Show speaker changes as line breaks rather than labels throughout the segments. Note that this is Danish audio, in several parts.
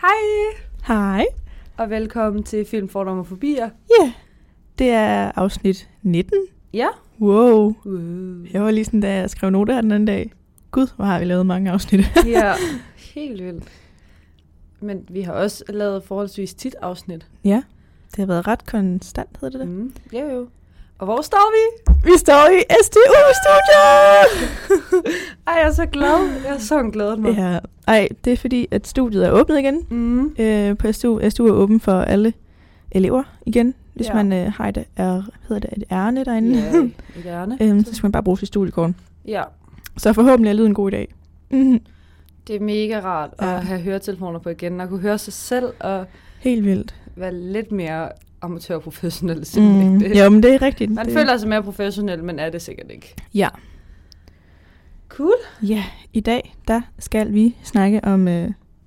Hej
Hej.
og velkommen til Film Fordom og Fobier.
Ja, yeah. det er afsnit 19.
Ja.
Wow.
Uh.
Jeg var lige sådan, da jeg skrev noter her den anden dag. Gud, hvor har vi lavet mange afsnit.
ja, helt vildt. Men vi har også lavet forholdsvis tit afsnit.
ja, det har været ret konstant, hedder det det.
Mm. Ja jo. Og hvor står vi?
Vi står i STU-studiet!
Ej, jeg er så glad. Jeg er så glad mig.
ja, ej, det er fordi, at studiet er åbnet igen
Mm.
øh, på STU. STU er åben for alle elever igen, hvis
Ja.
ja. man øh, har et, er, hedder det, et ærne derinde.
Ja, i hjørne.
øhm, så skal man bare bruge sit studiekorn.
Ja,
Så forhåbentlig er lyden god i dag.
Mm-hmm.
Mhm.
det er mega rart
Ja.
at have høretelefoner på igen og kunne høre sig selv og
Helt vildt.
være lidt mere amatørprofessionel.
Mm.
Mm. Det.
Jo, men det er rigtigt.
Man
det.
føler sig mere professionel, men er det sikkert ikke.
Ja.
Cool.
Ja, i dag, der skal vi snakke om uh,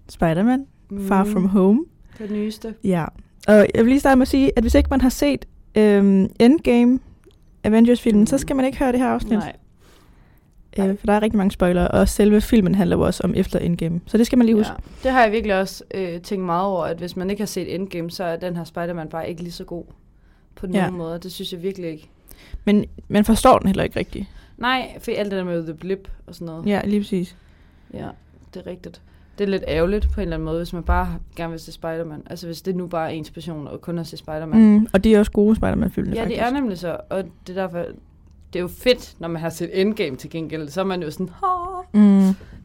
Spider-Man mm. Far From Home.
Det nyeste.
Ja. Og jeg vil lige starte med at sige, at hvis ikke man har set øhm, Endgame, Avengers-filmen, mm. så
Mm.
skal man ikke høre det her afsnit.
Nej.
Øh, for der er rigtig mange spoilere, og selve filmen handler jo også om efter Endgame. Så det skal man lige huske.
Ja. Det har jeg virkelig også øh, tænkt meget over, at hvis man ikke har set Endgame, så er den her Spider-Man bare ikke lige så god på nogen
Ja.
ja. måde. Det synes jeg virkelig ikke.
Men man forstår den heller ikke rigtigt.
Nej, for alt det der med The Blip og sådan noget.
Ja, lige præcis.
ja det er rigtigt. Det er lidt ærgerligt på en eller anden måde, hvis man bare har- gerne vil se Spider-Man. Altså hvis det nu bare er ens passion og kun har set Spider-Man.
Mm. Og de er også gode Spider-Man-filmene,
ja,
faktisk.
det er nemlig så. Og det er derfor... Det er jo fedt, når man har set Endgame til gengæld. Så er man jo sådan, Åh!
Mm.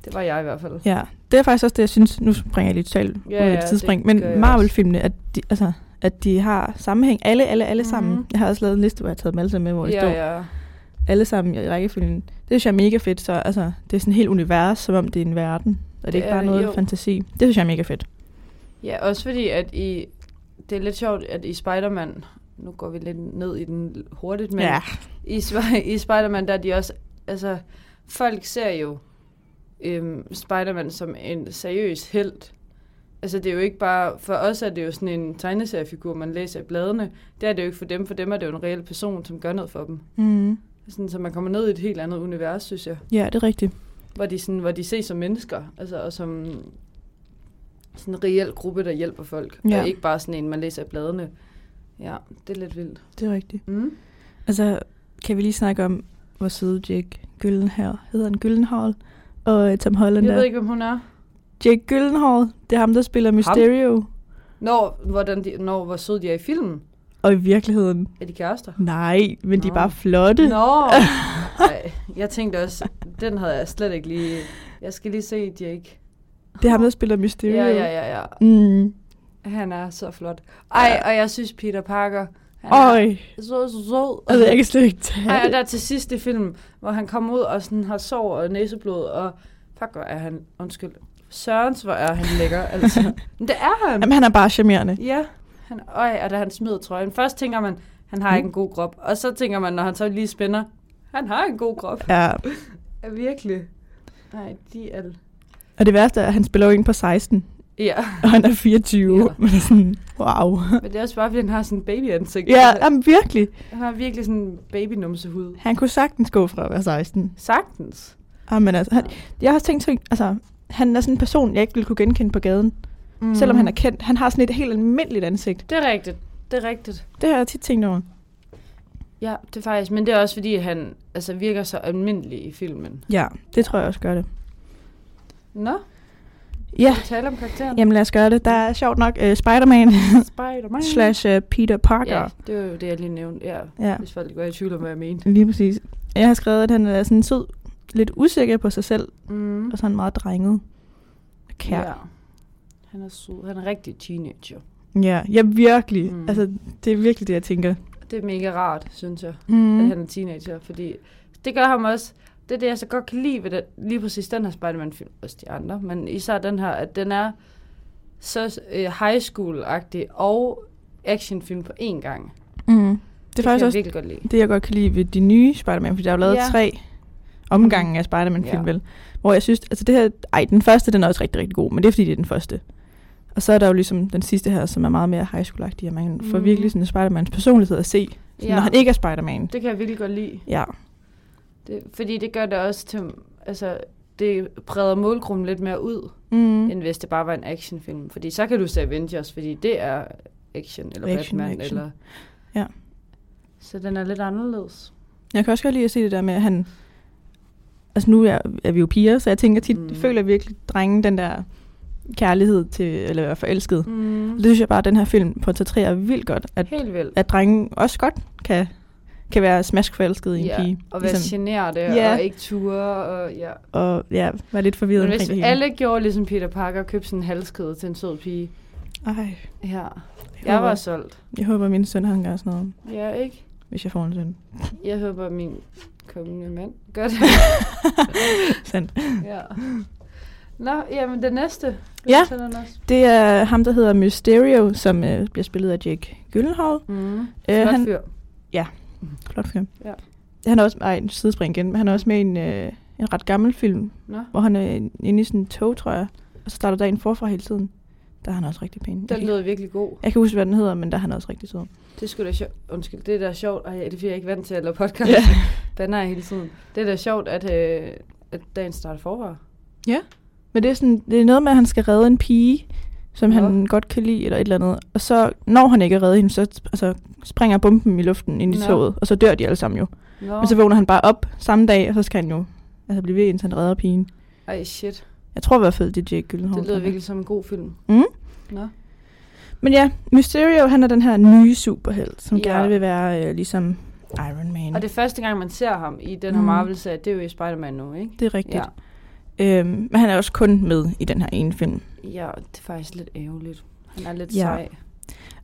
det var jeg i hvert fald.
Ja, det er faktisk også det, jeg synes, nu springer jeg lige totalt
Ja,
ja, ud
ja,
af et
det
tidsspring,
gør
men
jeg
Marvel-filmene, at de, altså, at de har sammenhæng, alle, alle, alle mm-hmm. sammen.
Mhm.
Jeg har også lavet en liste, hvor jeg har taget dem alle sammen med, hvor det ja,
ja,
står ja.
ja.
alle sammen i rækkefølgen. Det synes jeg er mega fedt, så altså, det er sådan et helt univers, som om det er en verden, og
Det
det, det er ikke
er
bare
det,
noget
jo.
fantasi. Det synes jeg er mega fedt.
Ja, også fordi, at i, det er lidt sjovt, at i Spider-Man, nu går vi lidt ned i den hurtigt, men ja.
ja,
i, Sp- i Spider-Man, der er de også, altså, folk ser jo øhm, Spider-Man som en seriøs held. Altså, det er jo ikke bare, for os er det jo sådan en tegneseriefigur, man læser i bladene. Det er det jo ikke for dem, for dem er det jo en reel person, som gør noget for dem.
mm.
Sådan, så man kommer ned i et helt andet univers, synes jeg.
ja det er rigtigt.
Hvor de, sådan, hvor de ses som mennesker, altså, og som sådan en reel gruppe, der hjælper folk. Ja.
Ja.
Og ikke bare sådan en, man læser i bladene. Ja, det er lidt vildt.
Det er rigtigt.
Mm.
Altså, kan vi lige snakke om, hvor søde Jake Gyllenhaal, hedder han Gyllenhaal, og øh, Tom Holland
Jeg ved
er.
ikke, hvem hun er.
Jake Gyllenhaal, det er ham, der spiller Mysterio, ham?
Når, hvordan de, når hvor søde de er i filmen.
og i virkeligheden
Er de kærester?
Nej, men de er
Nå.
bare flotte.
Nå! Ej, jeg tænkte også, den havde jeg slet ikke lige... Jeg skal lige se Jake.
Det er ham, der spiller Mysterio.
Ja, ja, ja, ja.
Mm.
Han er så flot. Ej, og jeg synes Peter Parker, han
Øj,
er så sød.
altså, jeg kan slet ikke tage
Ej, og
det.
der til sidst i filmen, hvor han kommer ud og sådan har sår og næseblod, og fuck, hvor er han, undskyld, Sørens, hvor er han lækker, altså. Men det er han.
Jamen, han er bare charmerende.
Ja, han, øj, og da han smider trøjen. Først tænker man, han
Mm.
har ikke en god krop, og så tænker man, når han så lige spænder, han har en god krop.
Ja.
Ja, virkelig. Nej, de er...
Og det værste er, at han spiller jo ind på 16,
Ja,
og han er 24.
Ja.
Ja. Men sådan, wow.
men det er også bare, fordi han har sådan en babyansigt.
Ja,
Altså,
jamen, virkelig.
Han har virkelig sådan en babynumsehud.
Han kunne sagtens gå fra at være 16.
Sagtens.
Jamen, altså, han, jeg har også tænkt, tænkt, altså, han er sådan en person, jeg ikke ville kunne genkende på gaden. Mm. Selvom han er kendt. Han har sådan et helt almindeligt ansigt.
Det er rigtigt. Det er rigtigt.
Det har jeg tit tænkt over.
Ja, det er faktisk, men det er også fordi, at han altså, virker så almindelig i filmen.
Ja, det tror jeg også gør det.
Nå,
Ja,
vi taler om karakteren.
jamen lad os gøre det. Der er sjovt nok uh, Spider-Man
Spider-Man.
slash uh, Peter Parker.
Ja, det var jo det, jeg lige nævnte. Ja,
Ja,
hvis folk var i tvivl om, hvad jeg mente.
lige præcis. Jeg har skrevet, at han er sådan sød, lidt usikker på sig selv,
Mm.
og sådan meget drenget. Og Kær. Ja,
Ja. Han er sød. Han er rigtig teenager.
ja, ja virkelig.
Mm.
Mm. Altså, det er virkelig det, jeg tænker.
Det er mega rart, synes jeg, mm. at
Mm.
han er teenager, fordi det gør ham også... Det er det, jeg så godt kan lide ved det, lige præcis den her Spider-Man-film, også de andre, men især den her, at den er så øh, high school-agtig og actionfilm på én gang. Det,
Mm. Det er
kan jeg
faktisk også
virkelig godt lide.
det, jeg godt kan lide ved de nye Spider-Man, fordi der er jo lavet
Ja.
ja. tre omgange af Spider-Man-film,
Ja.
ja. vel? Hvor jeg synes, altså det her, ej, den første, den er også rigtig, rigtig god, men det er fordi, det er den første. Og så er der jo ligesom den sidste her, som er meget mere high school og man mm. får
Mm.
virkelig sådan Spider-Mans personlighed at se, ja. når han ikke er Spider-Man.
Det kan jeg virkelig godt lide.
Ja.
Det, fordi det gør det også til... Altså, det breder målgruppen lidt mere ud, mm.
Mm.
end hvis det bare var en actionfilm. Fordi så kan du se Avengers, fordi det er action, eller
Action,
Batman,
action.
eller...
Ja.
Så den er lidt anderledes.
Jeg kan også godt lide at se det der med, at han... Altså nu er, er vi jo piger, så jeg tænker tit,
Mm.
mm. føler virkelig drengen den der kærlighed til, eller være forelsket. Mm.
Mm.
Det synes jeg bare, at den her film portrætterer vildt godt, at,
Helt vildt.
at drengen også godt kan, kan være smaskforelsket i en
Ja,
pige.
og være ligesom. generet
Ja.
og ikke ture. Og, ja.
og ja, være lidt forvirret
Men
omkring
hvis
det hele.
alle gjorde ligesom Peter Parker og købte sådan en halskæde til en sød pige.
Ej,
Ja.
jeg,
Jeg
håber,
var solgt.
jeg håber, min søn han gør sådan noget,
Ja, ikke?
hvis jeg får en søn.
Jeg håber, min kommende mand gør det.
Sandt.
ja. Nå, jamen det næste. Vil
Ja.
du fortælle den også?
Det er ham, der hedder Mysterio, som øh, bliver spillet af Jake Gyllenhaal.
Mm.
Øh,
Flot
han-
fyr.
Flot film.
Ja.
Han er også, ej, en sidespring igen, men han er også med i en, øh, en ret gammel film,
Nå.
hvor han er inde i sådan en tog, tror jeg, og så starter der en forfra hele tiden. Der er han også rigtig pæn. Jeg
Den
kan,
lød virkelig god.
jeg kan huske, hvad den hedder, men der er han også rigtig sød.
Det skulle da sjovt. Undskyld, det er da sjovt. Ej, det er fordi, jeg ikke er vant til at lave podcast.
Ja.
Ja. Banner jeg hele tiden. Det er da sjovt, at, øh, at dagen starter forvar.
Men det er, sådan, det er noget med, at han skal redde en pige, som
Nå.
han godt kan lide, eller et eller andet. Og så, når han ikke kan redde hende, så altså, springer bomben i luften ind i
Nå.
toget, og så dør de alle sammen jo.
Nå.
Men så vågner han bare op samme dag, og så skal han jo altså, blive ved, indtil han redder pigen.
Ej, shit.
Jeg tror i hvert fald, det er Jake Gyllenhaal.
Det
der
lyder
er.
virkelig som en god film.
Mm.
Nå.
Men ja, Mysterio, han er den her nye superhelt, som
Ja.
ja. gerne vil være øh, ligesom Iron Man.
Og det er første gang, man ser ham i den her
Mm.
Marvel-serie, det er jo i Spider-Man nu, ikke?
det er rigtigt.
Ja.
Ja. Øhm, men han er også kun med i den her ene film.
ja, det er faktisk lidt ærgerligt. Han er lidt ja.
Ja.
sej.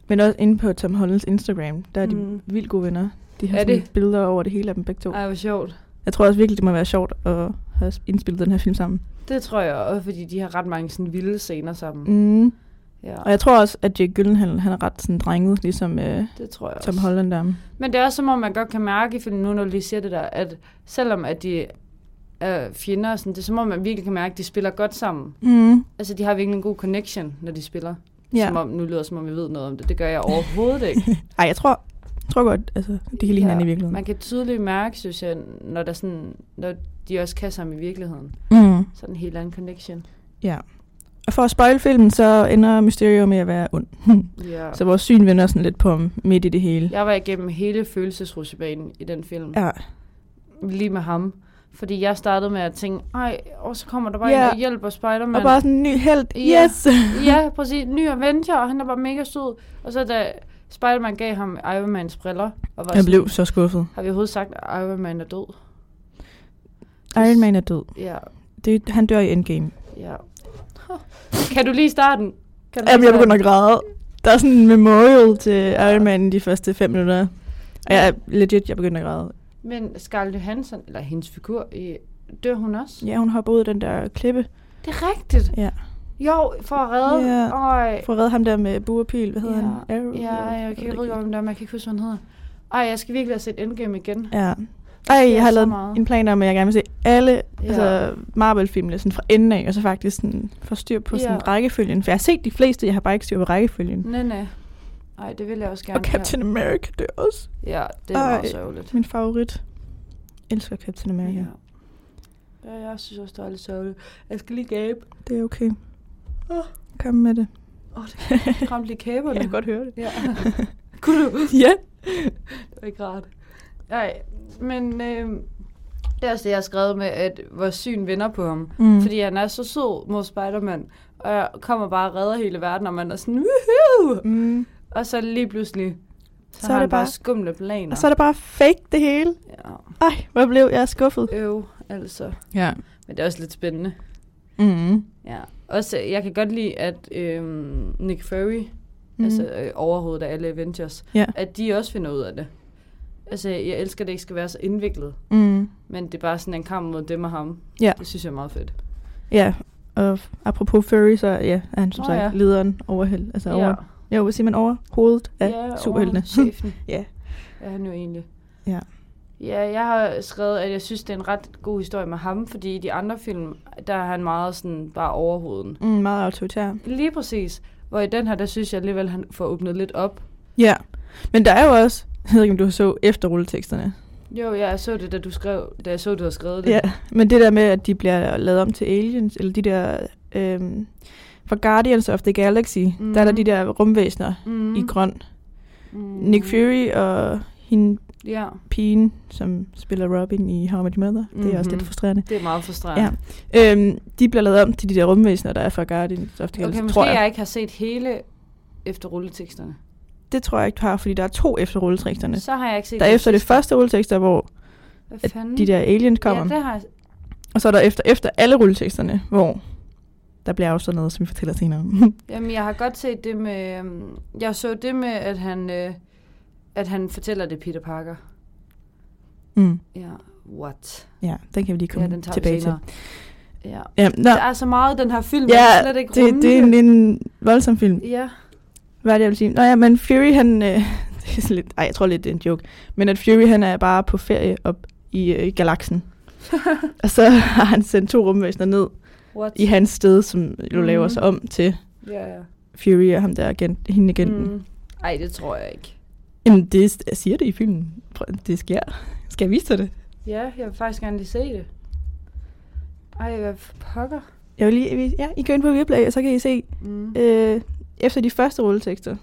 Men også inde på Tom Hollands Instagram, der er de
Mm.
vildt gode venner. De har
Er
sådan
det?
billeder over det hele af dem begge to.
Ej, hvor sjovt.
Jeg tror også virkelig, det må være sjovt at have indspillet den her film sammen.
Det tror jeg også, fordi de har ret mange sådan vilde scener sammen.
Mm.
Ja,
Og jeg tror også, at Jake Gyllenhaal, han er ret sådan drenget, ligesom øh,
det tror jeg
Tom
også.
Holland der.
Men det er også som om, man godt kan mærke i filmen nu, når du lige siger det der, at selvom at de er fjender, og sådan, det er som om, man virkelig kan mærke, at de spiller godt sammen.
Mm.
Altså, de har virkelig en god connection, når de spiller.
Ja.
Som om, nu lyder det, som om, jeg ved noget om det. Det gør jeg overhovedet ikke.
Ej, jeg tror, jeg tror godt, altså, de kan
Ja,
lide hinanden i virkeligheden.
Man kan tydeligt mærke, synes jeg, når, der sådan, når de også kan sammen i virkeligheden.
Mm.
Sådan en helt anden connection.
Ja. Og for at spoil filmen, så ender Mysterio med at være ond.
Ja.
Så vores syn vender sådan lidt på ham midt i det hele.
Jeg var igennem hele følelsesrutsjebanen i den film.
Ja.
Lige med ham. Fordi jeg startede med at tænke, ej, og så kommer der bare
Ja.
en, der hjælper Spider-Man.
Og bare sådan en ny held.
Ja.
Yes!
ja, præcis. Ny Avenger, og han er bare mega sød. Og så da Spider-Man gav ham Iron Mans briller, og var
Jeg
sådan,
blev så skuffet.
har vi overhovedet sagt, at Iron Man er død?
Iron Man er død.
Ja,
Det, han dør i Endgame.
ja. Kan du lige starten? Kan du
Jamen,
lige
jeg
starten?
begynder at græde. Der er sådan en memorial til Iron Man i de første fem minutter. Og jeg er legit, jeg begynder at græde.
Men Scarlett Johansson, eller hendes figur, i- dør hun også?
Ja, hun hopper ud af den der klippe
Det er rigtigt.
Ja.
Jo, for at redde.
Ja.
Øj.
for at redde ham der med buerpil. Hvad hedder
ja.
han? Arrow?
Ja, jeg, kan, jeg ved ikke, hvem det er, men jeg kan ikke huske, hvad han hedder. Ej, jeg skal virkelig have set Endgame igen.
Ja. Ej,
sker
jeg har
så
lavet
meget.
en plan om, at jeg gerne vil se alle
Ja.
ja. altså Marvel-filmene sådan fra enden af, og så faktisk sådan få styr på sådan
Ja. Mm.
rækkefølgen. For jeg har set de fleste, jeg har bare ikke styr på rækkefølgen.
Nej, nej. Ej, det vil jeg også gerne.
Og Captain America dør også.
Ja, ja det er
Ej.
meget sørgeligt.
Min favorit. elsker Captain America.
Ja.
Ja.
ja, jeg synes også, det er lidt sørgeligt. Jeg skal lige gabe.
Det er okay.
Åh.
Kom med det.
Åh, oh, det ramte lige kæberne.
Jeg kan godt høre det.
Ja. Kunne du?
Ja.
Det var ikke rart. Nej, men øh, det er også det, jeg har skrevet med, at vores syn vender på ham. Mm.
Mm.
Fordi han er så sød mod Spider-Man, og jeg kommer bare og redder hele verden, og man er sådan, Woohoo!
Mm.
Og så lige pludselig, så,
Så
så
er
har han
det
bare, bare
bare-
skumle planer.
Og så er det bare fake det hele.
Ja,
Ej, hvor blev jeg skuffet.
øv, altså.
Ja.
Men det er også lidt spændende.
Mm.
Ja. Også, øh, jeg kan godt lide, at øh, Nick Fury,
Mhm.
mm. altså øh, overhovedet af alle Avengers,
Ja.
at de også finder ud af det. Altså, jeg elsker, at det ikke skal være så indviklet.
Mm.
Men det er bare sådan en kamp mod dem og ham.
Ja.
Det synes jeg er meget fedt.
Ja, og apropos furry, så ja, er han som
Nå
sagt
ja.
lederen over hel, altså over, jo, hvad siger man over hovedet af ja, superheltene.
over Chefen.
Ja.
Er han jo egentlig.
Ja.
Ja, jeg har skrevet, at jeg synes, det er en ret god historie med ham, fordi i de andre film, der er han meget sådan bare overhoveden.
mm, meget autoritær.
Lige præcis. Hvor i den her, der synes jeg alligevel, han får åbnet lidt op.
Ja, men der er jo også, jeg ved ikke, om du så efter rulleteksterne,
Jo, jeg så det, da du skrev, da jeg så, du havde skrevet det.
Ja, men det der med, at de bliver lavet om til aliens, eller de der... Øhm, fra Guardians of the Galaxy, mm. der er der
Mhm.
de der rumvæsener
Mm.
mm. i grøn.
Mm.
Nick Fury og hende
Mm-hmm. Ja,
pigen, som spiller Robin i How I Met Your Mother. Mm-hmm. Det er også lidt
Mhm.
frustrerende.
det er meget frustrerende.
Ja. Øhm, de bliver lavet om til de der rumvæsener, der er fra Guardians of the Galaxy,
Okay, måske
tror
jeg.
jeg.
ikke har set hele efter rulleteksterne.
Det tror jeg ikke, du har, fordi der er to efter rulleteksterne.
Så har jeg ikke set
Der er efter det
rulletekster.
første rulletekster, hvor
Hvad fanden?
de der aliens kommer.
Mm. Ja, det har jeg...
Og så er der efter, efter alle rulleteksterne, hvor der bliver afsløret noget, som vi fortæller senere Mm. om.
Jamen, jeg har godt set det med... øhm, Jeg så det med, at han, øh, at han fortæller det Peter Parker.
mm.
Ja, what?
Ja, den kan vi lige komme
ja,
ja,
den tager
tilbage
vi
til.
senere. Ja.
Ja, nå,
Der er så meget, den her film,
ja
jeg kan slet ikke
det,
rumme
det er en, en voldsom film.
Ja,
Hvad er det, jeg vil sige? Nå ja, men Fury, han... Øh, det er sådan lidt, ej, jeg tror lidt, det er en joke. Men at Fury, han er bare på ferie op i øh, galaksen. og så har han sendt to rumvæsener ned
what?
i hans sted, som jo
Mhm.
laver sig om til
Ja, ja.
Fury og ham der agent, hende agenten. Mm.
Mm. Ej, det tror jeg ikke.
Jamen, det, jeg siger det i filmen. Prøv, Det sker. Skal jeg vise dig det?
Ja, jeg vil faktisk gerne lige se det. Ej, hvad for pokker?
Jeg vil lige, vise- ja, I går ind på Viaplay, og så kan I se
Mm.
øh, efter de første rulletekster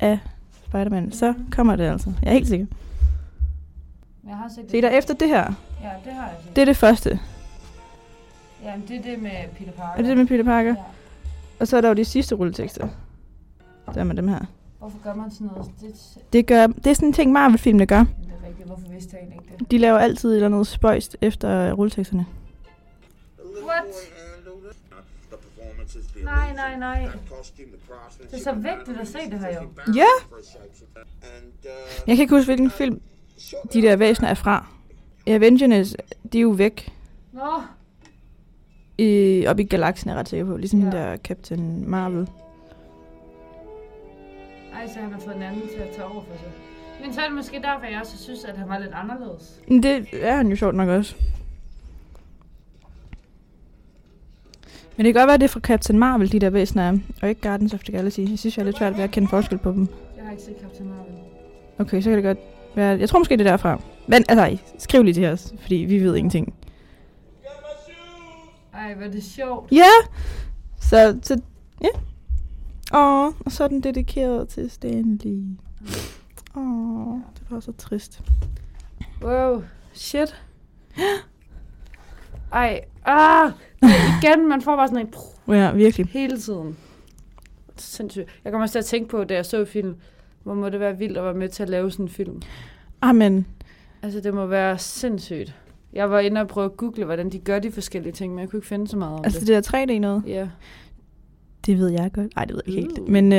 af Spider-Man, så kommer det altså. Jeg er helt sikker.
Jeg har set det.
Se der efter det her.
Ja, det har jeg set.
Det er det første.
Jamen, det er det med Peter Parker.
Er det det med Peter Parker?
Ja.
Og så er der jo de sidste rulletekster. Der med dem her.
Hvorfor gør man sådan noget? Det,
Det, gør, det er sådan en ting, Marvel-filmene gør.
det er rigtigt. Hvorfor vidste jeg egentlig ikke det?
De laver altid et eller andet spøjst efter rulleteksterne.
What?
The performances, the
Nej, nej,
illusion,
nej.
that costume, the craftsmanship,
Det er så vigtigt at se det her, jo.
Ja.
And, uh,
Jeg kan ikke huske, hvilken film
shot
de der væsener er fra. I Avengers, de er jo væk.
Nå,
I, op i galaksen er jeg ret sikker på. Ligesom
Ja.
ja. den der Captain Marvel.
ej, så han har fået en anden til at tage over for sig. Men så er det måske derfor, jeg også synes, at han var lidt anderledes.
Men det er han jo sjovt nok også. Men det kan godt være, at det er fra Captain Marvel, de der væsener er. Og ikke Guardians of the Galaxy. Jeg synes, jeg er lidt svært ved at kende forskel på dem.
Jeg har ikke set Captain Marvel.
Okay, så kan det godt være... Jeg tror måske, det er derfra. Men altså, ej, skriv lige til os, fordi vi ved ingenting.
Ej, hvor er det sjovt.
Ja! Så, så ja. Åh, og så er den dedikeret til Stanley. Åh, det var så trist.
Wow, shit. Ej, ah! Ej, igen, man får bare sådan en prr,
Ja, virkelig.
hele tiden. Sindssygt. Jeg kommer også til at tænke på, da jeg så film, hvor må det være vildt at være med til at lave sådan en film.
Amen.
Altså, det må være sindssygt. Jeg var inde og prøve at google, hvordan de gør de forskellige ting, men jeg kunne ikke finde så meget om
Altså,
det.
det der 3D noget.
Ja.
Det ved jeg godt. Nej, det ved jeg ikke
Uh.
helt. Men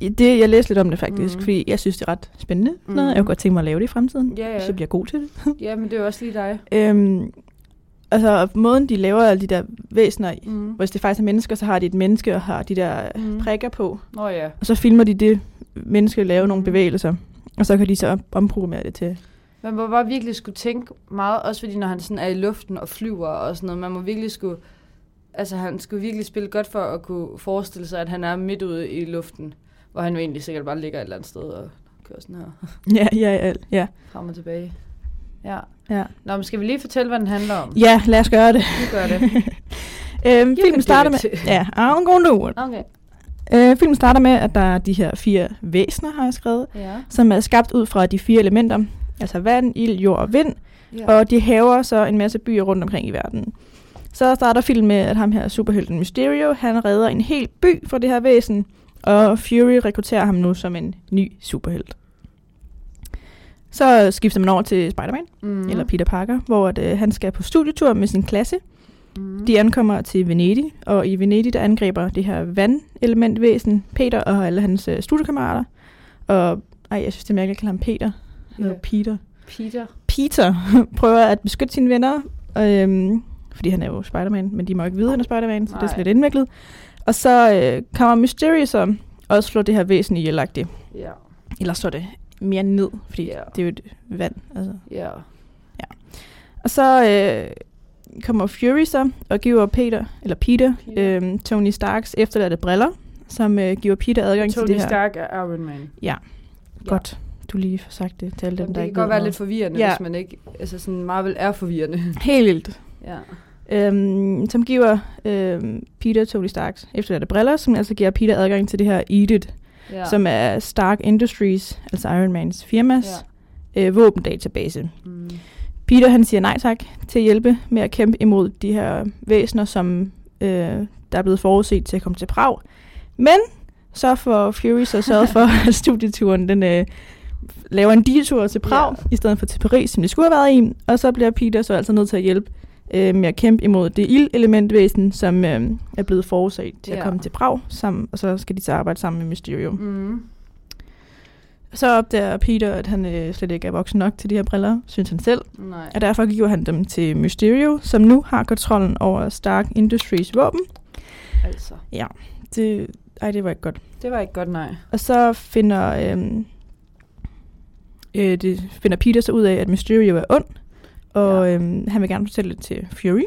øh, det, jeg læste lidt om det faktisk,
Mhm.
mm. fordi jeg synes, det er ret spændende. Mm. Noget,
Mhm.
jeg kunne godt tænke mig at lave det i fremtiden,
Ja, ja.
hvis jeg bliver god til det.
ja, men det er jo også lige dig.
Øhm, altså, og måden de laver alle de der væsener i,
Mm.
Hvis det faktisk er mennesker, så har de et menneske og har de der
Mhm.
mm. prikker på.
Nå ja.
Og så filmer de det menneske lave nogle
Mhm.
bevægelser. Og så kan de så om- omprogrammere det til.
Man må bare virkelig skulle tænke meget, også fordi når han sådan er i luften og flyver og sådan noget, man må virkelig skulle, altså han skulle virkelig spille godt for at kunne forestille sig, at han er midt ude i luften, hvor han jo egentlig sikkert bare ligger et eller andet sted og kører sådan her
Ja, ja, ja. Ja,
frem og tilbage. Ja.
ja.
Nå, men skal vi lige fortælle, hvad den handler om?
ja lad os gøre det.
Vi gør det.
Øhm,
do
filmen starter med...
it.
Ja, ah, I'm gonna do it.
Okay.
Øh, filmen starter med, at der er de her fire væsener, har jeg skrevet,
Ja.
som er skabt ud fra de fire elementer. Altså vand, ild, jord og vind.
ja.
Og de haver så en masse byer rundt omkring i verden. Så starter filmen med, at ham her superhelten Mysterio, han redder en hel by fra det her væsen, og Fury rekrutterer ham nu som en ny superhelt. Så skifter man over til Spider-Man,
mm.
mm. eller Peter Parker, hvor at, øh, han skal på studietur med sin klasse.
mm.
De ankommer til Venedig, og i Venedig der angriber det her vandelementvæsen Peter og alle hans øh, studiekammerater. Og ej, jeg synes, det er mærkeligt at kalde ham Peter. Han hedder
Ja.
Peter.
Peter.
Peter prøver at beskytte sine venner, øhm, fordi han er jo Spider-Man, men de må jo ikke vide, at han er Spider-Man, så det er
Nej.
sådan lidt indviklet. Og så øh, kommer Mysterio så og slår det her væsen ihjelagtigt.
Ja.
Eller slår det mere ned, fordi
Ja.
det er jo et vand. Altså.
Ja.
Og så øh, kommer Fury så og giver Peter, eller Peter,
Peter.
Øhm, Tony Starks efterladte briller, som øh, giver Peter adgang til
Tony
det her.
Stark er Iron Man.
Ja.
Ja.
Godt. du lige får sagt det til alle dem,
Jamen,
der
det kan
ikke
godt
ved
være
noget.
lidt forvirrende,
Ja.
ja. hvis man ikke... Altså sådan, Marvel er forvirrende.
Helt vildt.
ja.
øhm, som giver øhm, Peter Tony Starks efterladte briller, som altså giver Peter adgang til det her Edit,
ja.
ja. som er Stark Industries, altså Iron Mans firmas, ja. øh, våbendatabase.
Mm.
Peter han siger nej tak til at hjælpe med at kæmpe imod de her væsener, som øh, der er blevet forudset til at komme til Prag. Men så får Fury så sørget for, at studieturen den, øh, laver en detur til Prag, yeah. i stedet for til Paris, som de skulle have været i. Og så bliver Peter så altså nødt til at hjælpe øh, med at kæmpe imod det ildelementvæsen, som øh, er blevet forudset til yeah.
Ja.
at komme til Prag. Sammen, og så skal de så arbejde sammen med Mysterio. Mm.
Mm.
Så opdager Peter, at han øh, slet ikke er voksen nok til de her briller, synes han selv.
Nej.
Og derfor giver han dem til Mysterio, som nu har kontrollen over Stark Industries våben.
Altså.
Det, ej, det var ikke godt.
Det var ikke godt, nej.
Og så finder, øhm, øh, det finder Peter så ud af, at Mysterio er ond, og ja. øhm, han vil gerne fortælle det til Fury.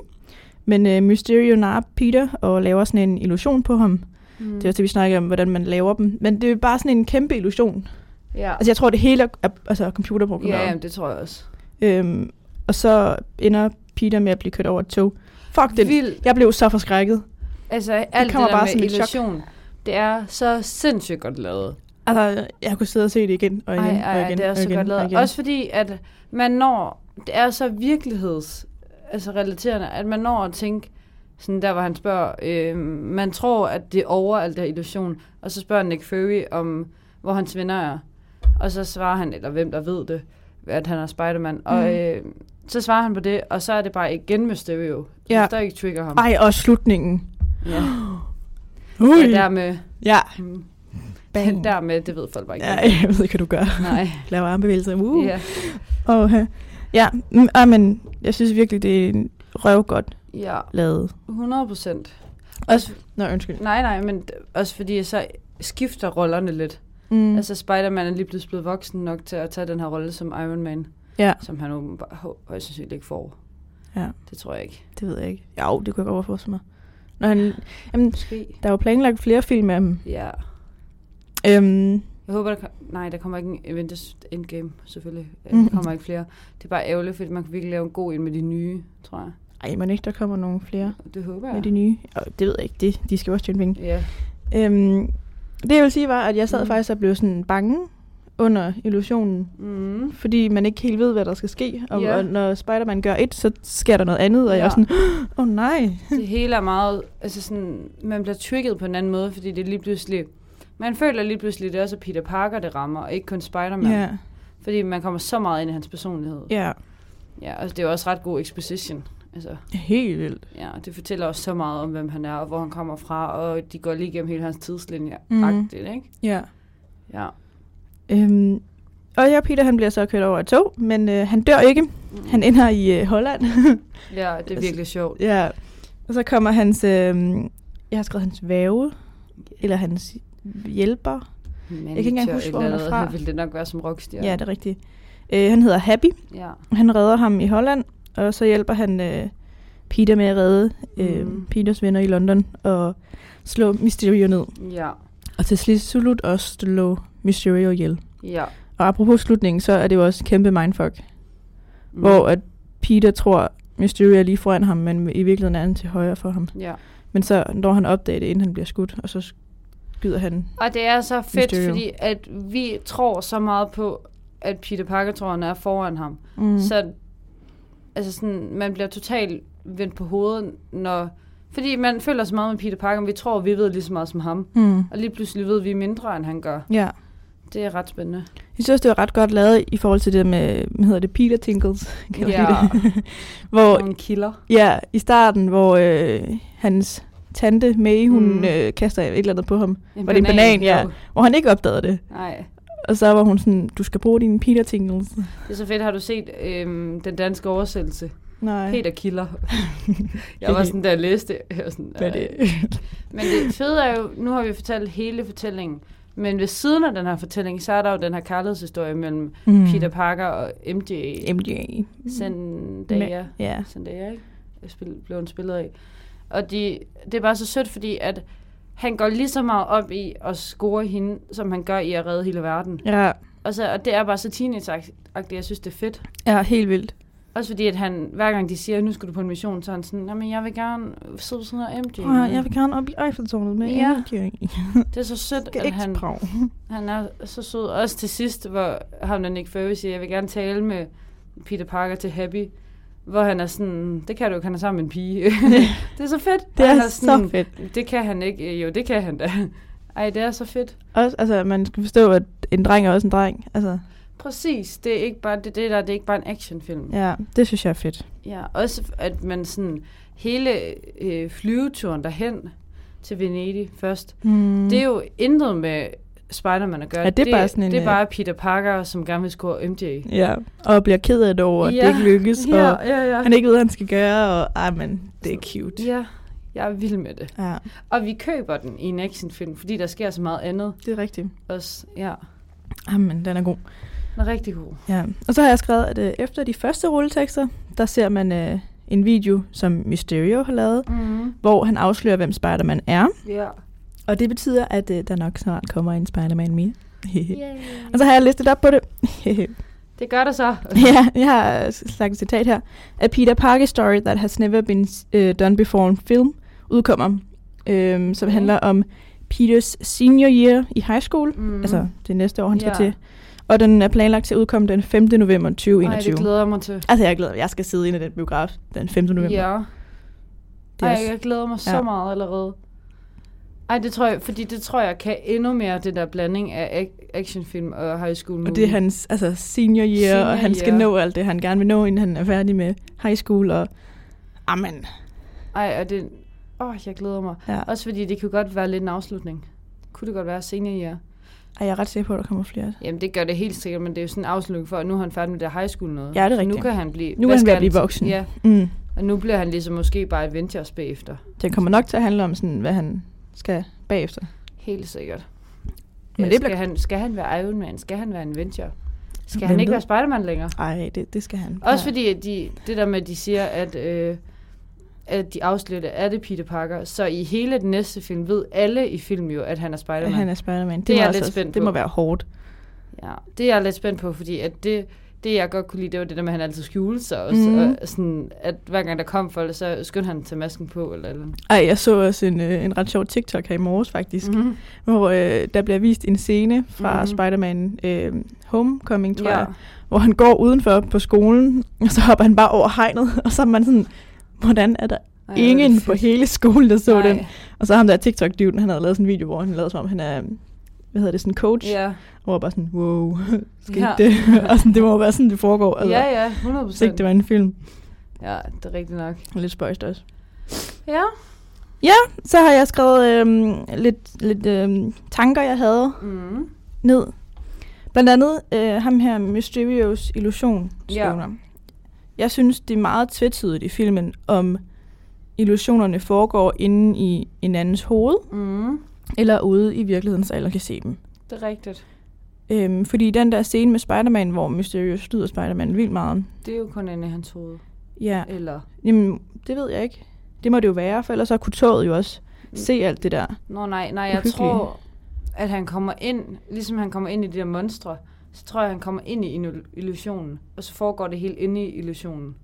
Men øh, Mysterio narer Peter og laver sådan en illusion på ham. Mm.
Mm.
Det er også det, vi snakker om, hvordan man laver dem. Men det er bare sådan en kæmpe illusion.
ja.
Altså, jeg tror, det hele er, er altså,
ja,
computerprogrammeret.
jamen, det tror jeg også.
Øhm, og så ender Peter med at blive kørt over et tog. Fuck den.
Vildt.
Jeg blev så forskrækket.
Altså, alt det,
kommer
det der
bare
bare med
som et chok.
illusion, det er så sindssygt godt lavet.
Altså, jeg kunne sidde og se det igen og igen
Ej, ej,
og igen.
det er
og
så
igen,
godt
og
lavet.
igen.
Også fordi, at man når, det er så virkeligheds, altså relaterende, at man når at tænke, sådan der, hvor han spørger, øh, man tror, at det er over alt det her illusion, og så spørger Nick Fury om, hvor hans venner er, og så svarer han, eller hvem der ved det, at han er Spider-Man, og
Mhm.
øh, så svarer han på det, og så er det bare igen Mysterio,
Ja.
ja. der ikke trigger ham.
Ej, og slutningen.
Ja.
Ui.
Og dermed,
Ja.
mm,
Bang.
dermed, det ved folk bare ikke.
ja, jeg ved ikke, hvad du gør.
Nej.
Laver armbevægelser. Uh.
Ja.
Og, ja, mm, ah, men jeg synes virkelig, det er en røvgodt
ja,
lavet.
100 procent.
Også, Nå, undskyld.
Nej, nej, men d- også fordi så skifter rollerne lidt.
Mm.
Mm. Altså Spider-Man er lige blevet blevet voksen nok til at tage den her rolle som Iron Man,
ja,
som han åbenbart hø- højst sandsynligt ikke får.
Ja.
Det tror jeg ikke.
det ved jeg ikke. Jo, det kunne jeg godt overforstå mig. Når han, jamen,
Måske.
der er jo planlagt flere film af dem.
Ja.
Øhm,
Jeg håber, der kom- Nej, der kommer ikke en Avengers Endgame, selvfølgelig.
Mhm.
Mm. Der kommer ikke flere. Det er bare ærgerligt, fordi man kan virkelig lave en god en med de nye, tror jeg.
ej, men ikke, der kommer nogle flere
Det håber
ja.
jeg.
med de nye. Oh, det ved jeg ikke. Det, de skal jo også tjene penge.
Ja.
Øhm, det jeg vil sige var, at jeg sad
Mhm.
faktisk og blev sådan bange under illusionen,
Mm.
fordi man ikke helt ved, hvad der skal ske. Og,
Ja.
og når Spider-Man gør et, så sker der noget andet, og ja. jeg er
Ja.
sådan, åh oh, nej.
Det hele er meget... Altså sådan, man bliver trigget på en anden måde, fordi det er lige pludselig... Man føler lige pludselig, at det også er Peter Parker, det rammer, og ikke kun Spider-Man.
Ja,
Fordi man kommer så meget ind i hans personlighed.
ja.
Ja, og det er jo også ret god exposition. Altså,
Helt vildt.
ja, det fortæller også så meget om, hvem han er, og hvor han kommer fra, og de går lige igennem hele hans tidslinje.
Mhm.
Mm. Agtigt, ikke?
Ja.
Ja.
Øhm, og ja, Peter han bliver så kørt over et tog, men øh, han dør ikke. Han Altså, ender i øh, Holland.
ja, det er virkelig sjovt.
ja. Og så kommer hans, øh, jeg har skrevet hans væve, eller hans hjælper.
Men
kan ikke engang huske, hvor han er fra.
Vil det nok være som rockstjerne?
Ja, ja det er rigtigt. Øh, han hedder Happy.
ja.
Han redder ham i Holland, og så hjælper han øh, Peter med at redde øh,
Mm.
Peters venner i London og slå Mysterio ned.
ja.
Og til sidst slut også slå Mysterio ihjel.
Ja.
Og apropos slutningen, så er det jo også kæmpe mindfuck, mm.
Mm.
hvor at Peter tror, Mysterio er lige foran ham, men i virkeligheden er han til højre for ham.
Ja.
Men så når han opdager det, inden han bliver skudt, og så skyder han.
Og det er så fedt,
Mysterio.
fordi at vi tror så meget på, at Peter Parker tror, han er foran ham. Mm. Så altså sådan, man bliver totalt vendt på hovedet, når... Fordi man føler så meget med Peter Parker, men vi tror, vi ved lige så meget som ham.
Mm.
Og lige pludselig ved vi mindre, end han gør.
Ja.
Det er ret spændende.
Jeg synes også, det var ret godt lavet i forhold til det med, hvad hedder det, Peter Tinkles, kan man
Ja.
sige det? hvor
Og en kilder.
Ja, i starten, hvor øh, hans tante May, hun mm.
Mm.
øh, kaster et eller andet på ham, Var det en banan, ja.
jo.
hvor han ikke opdagede det.
Nej.
Og så var hun sådan, du skal bruge dine Peter Tingles.
Det er så fedt. Har du set øhm, den danske oversættelse?
Nej.
Peter Kilder. jeg var sådan, der læste det. Jeg var sådan,
Hvad er det?
"Ej." Men det fede er jo, nu har vi fortalt hele fortællingen. Men ved siden af den her fortælling, så er der jo den her kærlighedshistorie mellem
Mm.
Peter Parker og MJ.
MDA.
Zendaya.
Ja.
Zendaya, ikke? Jeg spil, blev hun spillet af. Og de, det er bare så sødt, fordi at han går lige så meget op i at score hende, som han gør i at redde hele verden.
Ja.
Og Og, så, og det er bare så teenage-agtigt, jeg synes, det er fedt.
Ja, helt vildt.
Også fordi, at han, hver gang de siger, nu skal du på en mission, så er han sådan, men jeg vil gerne sidde ved siden af MJ.
Ja, jeg vil gerne op i Eiffeltårnet med
Ja.
ja. en
Det er så sødt,
Skal
at
ikke
han,
til Prag.
han er så sød. Også til sidst, hvor ham der Nick Fury siger, jeg vil gerne tale med Peter Parker til Happy. Hvor han er sådan, det kan du ikke, han er sammen med en pige. det er så fedt.
Det
Han
er så fedt.
Det kan han ikke. Øh, Jo, det kan han da. Ej, det er så fedt.
Også, altså, man skal forstå, at en dreng er også en dreng. Altså,
Præcis. Det er ikke bare det, det der, det er ikke bare en actionfilm.
ja, det synes jeg er fedt.
Ja, også at man sådan hele øh, flyveturen derhen til Venedig først.
Mm.
Mm. Det er jo intet med Spider-Man at gøre.
Ja, det er bare sådan en,
det er
øh,
bare Peter Parker, som gerne vil score MJ.
Ja, og bliver ked af det over, at ja.
Ja.
det ikke lykkes, og
Ja, ja, ja.
han ikke ved, hvad han skal gøre, og ah, men, det er cute.
Ja, jeg er vild med det.
Ja,
Og vi køber den i en actionfilm, fordi der sker så meget andet
det er rigtigt.
også. Ja,
Ah, men, den er god.
den er rigtig god.
Ja. Og så har jeg skrevet, at øh, efter de første rulletekster, der ser man øh, en video, som Mysterio har lavet,
Mm.
hvor han afslører, hvem Spider-Man er.
Ja.
Og det betyder, at øh, der nok snart kommer en Spider-Man mere.
Yay.
Og så har jeg listet op på det.
Det gør der så.
ja, jeg har øh, sagt et citat her. A Peter Parker story that has never been uh, done before in film udkommer, øhm, som
Okay.
handler om Peters senior year i high school. Mm.
Mm.
Altså det næste år, han skal
Ja.
til. Og den er planlagt til at udkomme den 5. november 2021.
Ej, det glæder jeg mig til.
Altså, jeg glæder mig. Jeg skal sidde inde i den biograf den 5. november.
Ja.
Det er
Ej,
også-
jeg glæder mig så
Ja.
meget allerede. Ej, det tror jeg, fordi det tror jeg kan endnu mere, det der blanding af ac- actionfilm og high school movie.
Og det er hans altså, senior year,
Senior
senior og han skal
year.
nå alt det, han gerne vil nå, inden han er færdig med high school. Og... Amen.
Ej, og det... Åh, oh, jeg glæder mig.
Ja.
Også fordi det kan godt være lidt en afslutning. Kunne det godt være senior year?
Ej, jeg er ret sikker på, at der kommer flere.
Jamen, det gør det helt sikkert, men det er jo sådan en afslutning for, at nu er han færdig med det high school noget.
Ja, det er
Så Nu
rigtigt.
kan han blive...
Nu
hvad
er han ved
skal
at blive voksen.
Ja,
Mm.
og nu bliver han ligesom måske bare Avengers bagefter.
Den kommer nok til at handle om, sådan, hvad han skal bagefter.
Helt sikkert.
Men
Men
det
det skal,
bliver-
han, skal han være Iron Man? Skal han være Avenger? Skal
Hvem
han ikke
ved?
være Spider-Man længere?
Ej, det, det skal han.
Også
Ja.
fordi at de, det der med, at de siger, at, øh, at de afslører, at det er Peter Parker, så i hele den næste film ved alle i filmen jo, at han er Spider-Man.
han er Spider-Man. Det,
Det er
må
jeg
altså
lidt
også-
spændt
Det
på.
må være hårdt.
Ja, det er jeg lidt spændt på, fordi at det, det, jeg godt kunne lide, det var det der med, at han altid skjulte sig også.
Mhm.
Mm. Og sådan, at hver gang der kom folk, så skyndte han til masken på. Eller, eller.
Ej, jeg så også en, øh, en ret sjov TikTok her i morges faktisk, mm.
Mm-hmm.
hvor øh, der bliver vist en scene fra
Mhm.
mm. Spider-Man øh, Homecoming, tror ja.
Ja.
jeg, hvor han går udenfor på skolen, og så hopper han bare over hegnet, og så er man sådan, hvordan er der
Ej,
ingen på hele skolen, der så
Nej.
Nej. den? Og så ham der TikTok-dyven, han havde lavet sådan en video, hvor han lavede som om, han er, hvad hedder det, sådan en coach,
Ja.
hvor jeg bare sådan, wow, skete
Ja.
ja. det? og sådan, det må jo være sådan, det foregår. Altså,
ja, ja, 100
Hvis ikke
procent.
det var en film.
Ja, det er rigtigt nok.
Lidt spøjst også.
Ja.
Så har jeg skrevet øhm, lidt, lidt øhm, tanker, jeg havde
Mm.
ned. Blandt andet øh, ham her Mysterios illusion.
Ja.
Ja. Jeg synes, det er meget tvetydigt i filmen, om illusionerne foregår inde i en andens hoved,
Mm.
eller ude i virkeligheden, så alle kan se dem.
Det er rigtigt.
Øhm, fordi den der scene med Spider-Man, hvor Mysterious skyder Spider-Man vildt meget.
Det er jo kun inde i hans hoved.
Ja,
Eller...
jamen, det ved jeg ikke. Det må det jo være, for ellers så kunne toget jo også se alt det der.
Nå nej, nej, jeg
Uhyggelige.
tror, at han kommer ind, ligesom han kommer ind i de der monstre, så tror jeg, han kommer ind i illu- illusionen, og så foregår det helt inde i illusionen.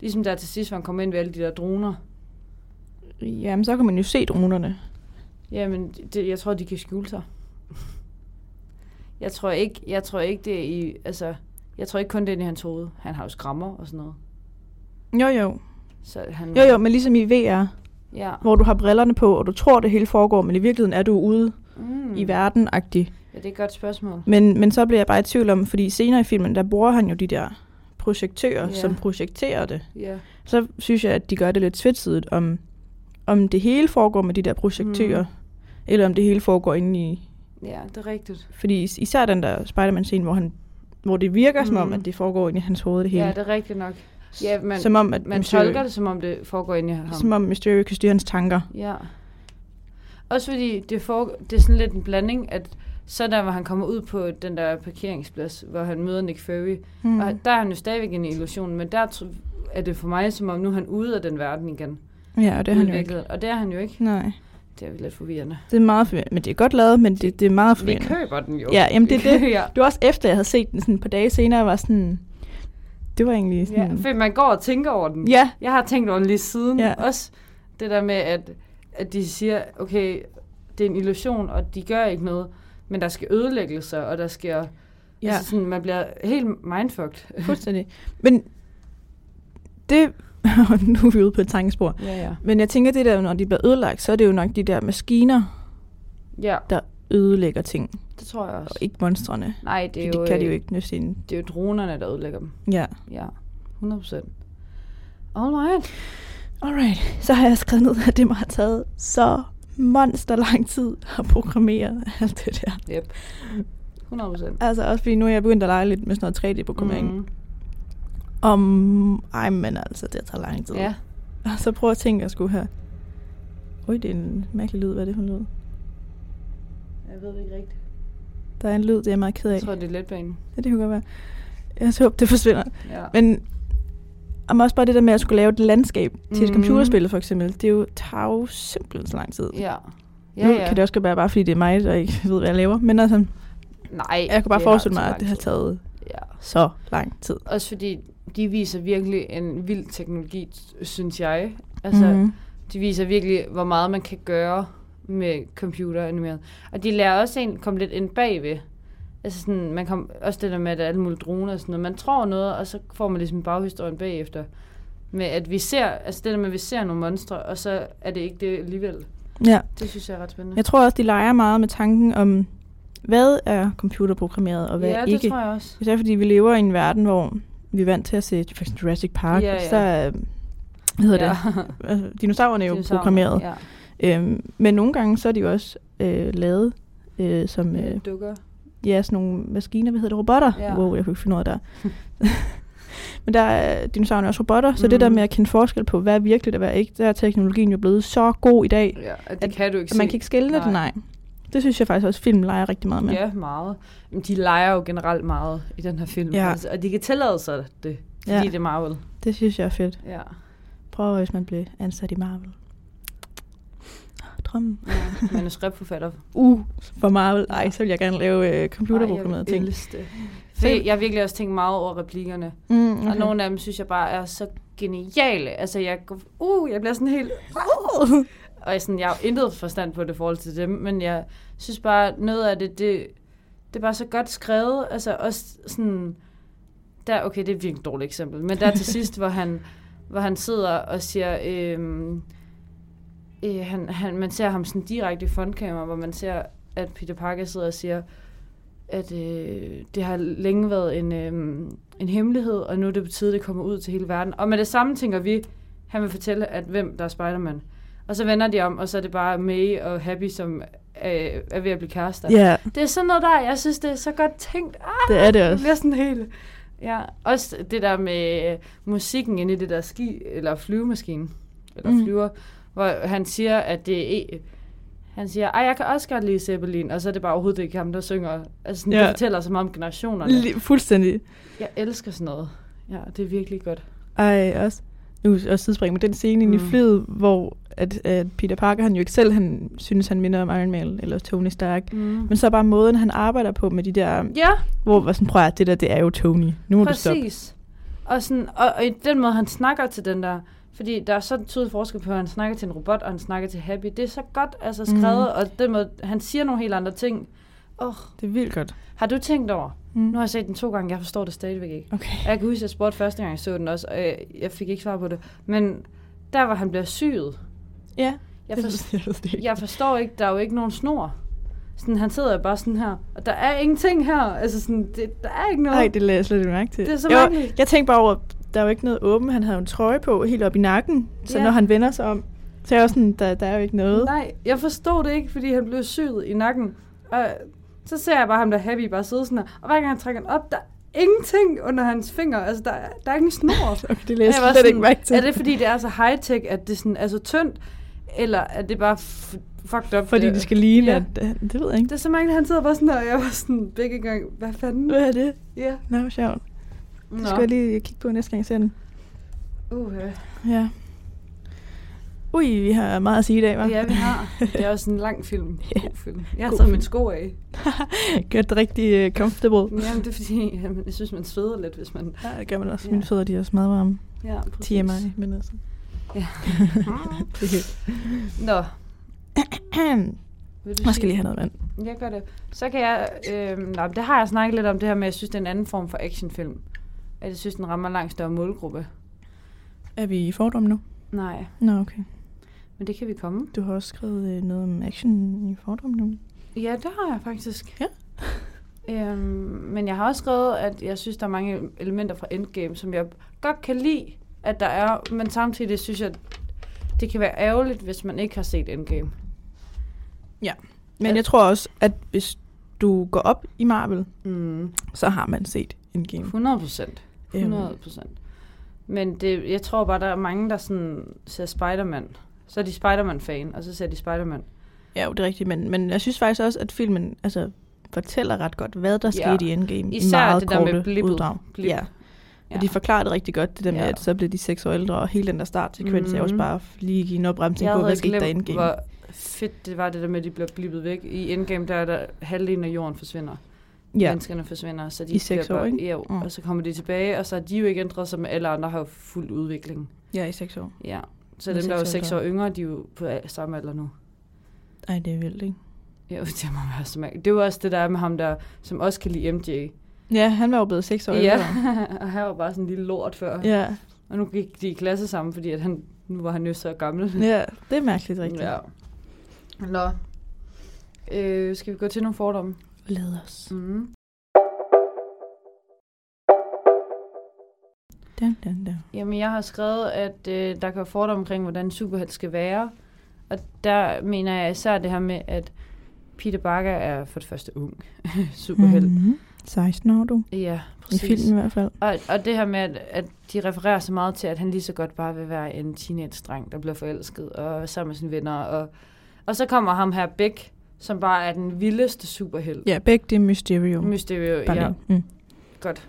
Ligesom der til sidst, hvor han kommer ind ved alle de der droner.
Jamen, så kan man jo se dronerne.
Jamen, det, jeg tror, de kan skjule sig. Jeg tror ikke, jeg tror ikke det er i, altså, jeg tror ikke kun det er inde i hans hoved. Han har jo skrammer og sådan noget.
Jo, jo.
Så han,
Jo, jo, men ligesom i VR,
Ja.
hvor du har brillerne på, og du tror, det hele foregår, men i virkeligheden er du ude
Mm.
mm. i verden -agtig.
ja, det er et godt spørgsmål.
Men, men så bliver jeg bare i tvivl om, fordi senere i filmen, der bruger han jo de der projektører,
Ja.
ja. som projekterer det.
Ja.
Så synes jeg, at de gør det lidt tvetydigt, om, om det hele foregår med de der projektører,
Mm.
mm. eller om det hele foregår inde i...
ja, det er rigtigt.
Fordi is- især den der Spider-Man-scene, hvor, han, hvor det virker mm. som om,
Mm.
at det foregår inde i hans hoved det hele.
Ja, det er rigtigt nok. Ja, man,
som om, at
man tolker det, som om det foregår inde i ham.
som om Mysterio kan styre hans tanker.
Ja. Også fordi det, for, det er sådan lidt en blanding, at så der, hvor han kommer ud på den der parkeringsplads, hvor han møder Nick Fury, mm. og der er han jo stadigvæk en illusion, men der tr- er det for mig, som om nu er han ude af den verden igen.
Ja, og det er han
Ude i
jo ikke.
virkeligheden. Og det er han jo ikke.
Nej.
Det er jo lidt forvirrende.
Det er meget forvirrende, men det er godt lavet, men det, det er meget
Vi
forvirrende.
køber den jo.
Ja, jamen det
Vi
er det.
køber-
Det var også efter, jeg havde set den sådan et par dage senere, jeg var sådan... Det var egentlig
Ja,
sådan...
for man går og tænker over den.
Ja,
Jeg har tænkt over den lige siden.
Ja.
Ja. Også det der med, at, at de siger, okay, det er en illusion, og de gør ikke noget, men der skal ødelæggelser, og der sker... Ja.
ja,
Altså sådan, man bliver helt mindfucked.
fuldstændig. Men det... nu er vi ude på et tankespor.
Ja, ja.
Men jeg tænker, det der, når de bliver ødelagt, så er det jo nok de der maskiner,
Ja,
der ødelægger ting,
det tror jeg også.
og ikke monstrene.
Nej, det er
Det,
jo,
det kan de jo
øh,
ikke næsten.
Det er jo dronerne, der ødelægger dem.
Ja.
Ja, 100 procent. Alright.
Alright, så har jeg skrevet ned, at det må have taget så monster lang tid at programmere alt det der.
Yep. 100 procent. Mhm.
Altså også fordi nu er jeg begyndt at lege lidt med sådan noget 3D-programmering. Mm. Om, ej, men altså, det tager lang tid.
Ja,
Og så prøver jeg at tænke, at jeg skulle have... Øj, det er en mærkelig lyd. Hvad er det for en lyd?
jeg ved ikke rigtigt.
Der er en lyd, det er jeg meget ked af.
Jeg tror, det er letbanen.
Ja, det kunne godt være. Jeg så håber, det forsvinder.
Ja.
Men om også bare det der med, at jeg skulle lave et landskab til et
Mhm.
computerspil, for eksempel. Det er jo, tager jo simpelthen så lang tid.
Ja.
nu kan det også godt være, bare fordi det er mig, der ikke ved, hvad jeg laver. Men altså,
Nej,
jeg kunne bare
det er
forestille
altså
mig, at
lang
det har
tid.
taget
Ja.
så lang tid.
Også fordi de viser virkelig en vild teknologi, synes jeg. Altså, mm.
Mhm.
de viser virkelig, hvor meget man kan gøre med computeranimeret. Og de lærer også en komme lidt ind bagved. Altså sådan, man kom, også det der med, at der er alle mulige droner og sådan noget. Man tror noget, og så får man ligesom baghistorien bagefter. Med at vi ser, altså det der med, at vi ser nogle monstre, og så er det ikke det alligevel.
Ja.
Det synes jeg er ret spændende.
Mm. Jeg tror også, de leger meget med tanken om, hvad er computerprogrammeret, og hvad
ja,
er
det
ikke.
tror jeg også.
Især fordi vi lever i en verden, hvor vi er vant til at se for eksempel Jurassic Park,
Ja, ja.
så er- hvad hedder
ja.
ja. det? Altså, Dinosaurerne er jo
Dinosaurer,
programmeret.
Ja.
Ja. Øhm, men nogle gange så er de jo også øh, lavet øh, som øh,
Dukker.
ja, sådan nogle maskiner, hvad hedder det, robotter.
Ja.
Wow, jeg kunne ikke finde noget der. men der er dinosaurerne er også robotter, så mm. det
Mhm.
der med at kende forskel på, hvad er virkeligt og hvad er ikke, der er teknologien jo blevet så god i dag,
Ja, og det kan du ikke
at man
se.
kan ikke skille det,
Nej.
nej. Det synes jeg faktisk også, film leger rigtig meget med.
Ja, meget. Men de leger jo generelt meget i den her film.
Ja.
Altså, og de kan tillade sig det, fordi
Ja.
ja. det er Marvel.
Det synes jeg er fedt.
Ja.
Prøv, hvis man blev ansat i Marvel. Drømmen.
ja. Manuskriptforfatter.
Uh, for Marvel. Ej, så vil jeg gerne lave øh, computerprogrammerede
Ej, jeg
ting.
elsker det. Fordi jeg har virkelig også tænkt meget over replikkerne. Okay.
Mm, okay.
Og nogle af dem synes jeg bare er så geniale. Altså, jeg, går- uh, jeg bliver sådan helt...
Uh!
Og jeg, er sådan, jeg har jo intet forstand på det i forhold til dem, men jeg synes bare, noget af det, det, det er bare så godt skrevet. Altså også sådan, der, okay, det er et virkelig dårligt eksempel, men der til sidst, hvor han, hvor han sidder og siger, øhm, øh, han, han, man ser ham sådan direkte i frontkamera, hvor man ser, at Peter Parker sidder og siger, at øh, det har længe været en, øh, en hemmelighed, og nu er det på tide, det kommer ud til hele verden. Og med det samme tænker vi, han vil fortælle, at hvem der er Spider-Man. Og så vender de om, og så er det bare May og Happy, som øh, er ved at blive kærester.
Ja,
Det er sådan noget der, jeg synes, det er så godt tænkt. Ah,
det er det
jeg
også.
bliver sådan helt... Ja, også det der med øh, musikken inde i det der ski, eller flyvemaskine, eller
Mm.
mm. flyver, hvor han siger, at det er... e- Han siger, ej, jeg kan også godt lide Zeppelin, og så er det bare overhovedet ikke ham, der synger. Altså, sådan,
Ja.
det fortæller så meget om generationerne.
Lige, fuldstændig.
Jeg elsker sådan noget. Ja, det er virkelig godt.
Ej, også. Nu er også tidsspring, men den scene inde i
Mm.
flyet, hvor at, at Peter Parker, han jo ikke selv, han synes, han minder om Iron Man eller Tony Stark.
Mm.
Men så bare måden, han arbejder på med de der,
Ja,
hvor var sådan, prøv at høre, det der, det er jo Tony. Nu må du stoppe.
Præcis. Og, sådan, og, og i den måde, han snakker til den der, fordi der er så tydelig forskel på, at han snakker til en robot, og han snakker til Happy. Det er så godt altså,
Mhm.
skrevet, mm. og den måde, han siger nogle helt andre ting. Oh,
Det er vildt godt.
har du tænkt over?
Mm.
Nu har jeg set den to gange, jeg forstår det stadigvæk ikke.
Okay.
Og jeg kan huske, at jeg spurgte første gang, jeg så den også, og jeg, jeg fik ikke svar på det. Men der, hvor han bliver syet,
Ja,
jeg,
det,
for,
jeg ved det ikke.
jeg forstår ikke, der er jo ikke nogen snor. Sådan, han sidder jo bare sådan her, og der er ingenting her. Altså sådan, det, der er ikke noget.
Nej, det lader jeg slet ikke mærke til.
Det er så
jeg, var-
mærkeligt.
jeg tænkte bare over, der er jo ikke noget åbent. Han havde jo en trøje på helt op i nakken, så
Ja.
når han vender sig om, så er jeg også sådan, der, der er jo ikke noget.
Nej, jeg forstod det ikke, fordi han blev syet i nakken. Og så ser jeg bare ham der happy bare sidde sådan her. Og hver gang han trækker den op, der er ingenting under hans fingre. Altså, der, er- der er ikke en snor.
Okay, det
Og
lader jeg
var
slet ikke mærke til.
Er det, fordi det er så high-tech, at det sådan er så tyndt? Eller er det bare f- fucked up?
Fordi
det,
det skal ligne,
Ja.
ja. det, det ved jeg ikke.
Det er så mærkeligt, han sidder bare sådan her, og jeg var sådan begge gang, hvad fanden?
Hvad er det?
Ja.
Nå, hvor sjovt.
Nå.
Det skal jeg lige kigge på næste gang, jeg ser den.
Uh,
Ja. Ui, vi har meget at sige i dag, hva'?
Ja, vi har. Det er også en lang film. God film. Jeg har
God
taget
film.
mine sko af.
Gør det rigtig uh, comfortable.
Jamen, det er fordi, jamen, jeg synes, man sveder lidt, hvis man...
Ja, det gør man også.
Ja.
Mine fødder, de er også meget varme.
Ja, præcis.
TMI, men altså.
Ja.
det er helt-
Nå, vil du
Jeg
sige-
skal lige have noget vand.
Jeg gør det. Så kan jeg... Øh, nej, men det har jeg snakket lidt om, det her med, at jeg synes, det er en anden form for actionfilm. At jeg synes, den rammer en langt større målgruppe.
Er vi i fordomme nu?
Nej,
Nå, okay.
men det kan vi komme.
Du har også skrevet øh, noget om action i fordomme nu.
Ja, det har jeg faktisk.
Ja.
øhm, men jeg har også skrevet, at jeg synes, der er mange elementer fra Endgame, som jeg godt kan lide, at der er. Men samtidig synes jeg, det kan være ærgerligt, hvis man ikke har set Endgame.
Men jeg tror også, at hvis du går op i Marvel,
Mm,
så har man set Endgame.
100 procent. 100 procent. Men det, jeg tror bare, der er mange, der sådan ser Spider-Man. Så er de Spider-Man-fan, og så ser de Spider-Man.
Ja, jo, det er rigtigt, men, men jeg synes faktisk også, at filmen altså, fortæller ret godt, hvad der
Ja.
ja. skete i Endgame.
Især
i meget
det der med
korte
blippet.
Uddrag.
Blip.
Ja.
Ja.
Og de forklarede det rigtig godt, det der med,
Ja.
at så blev de seks år ældre, og hele den der startsekvens, mm. jeg
Mhm.
også bare lige give en opbremsning
Jeg
på, hvad
havde
skete der i
glemt,
Endgame.
hvor fedt det var det der med, at de blev blippet væk. I Endgame, der er der halvdelen af jorden forsvinder. ja.
Ja,
menneskerne forsvinder. Så de
I seks
bliver
år,
bare-
ikke?
Ja,
Mm.
og så kommer de tilbage, og så har de jo ikke ændret sig, men alle andre har jo fuld udvikling.
ja, i seks år.
Ja. Så
Med
dem, der er jo
seks
seks
år
år yngre, de er jo på al- samme alder nu.
Ej, det er vildt, ikke?
Ja, det må være så mærkeligt. Det er jo også det, der er med ham, der, som også kan lide MJ.
Ja, han var jo blevet seks år
ja,
ældre.
og han var bare sådan en lille lort før. Ja.
Ja.
Og nu gik de i klasse sammen, fordi at han, nu var han jo så gammel.
ja, det er mærkeligt rigtigt.
Ja. Nå. Øh, skal vi gå til nogle fordomme?
Lad os.
Mm.
Dun, dun, dun.
Jamen, jeg har skrevet, at øh, der kan være fordomme omkring, hvordan en superhelt skal være. Og der mener jeg især det her med, at Peter Parker er for det første ung superhelt. Mm.
Mhm. 16 år, du.
Ja,
I
præcis.
filmen i hvert fald.
Og, og det her med, at, at de refererer så meget til, at han lige så godt bare vil være en teenage-dreng, der bliver forelsket og er sammen med sine venner. Og, og så kommer ham her Beck, som bare er den vildeste superhelt.
Ja, begge det er Mysterio.
Mysterio,
Bare
ja.
lige. Mm.
Godt.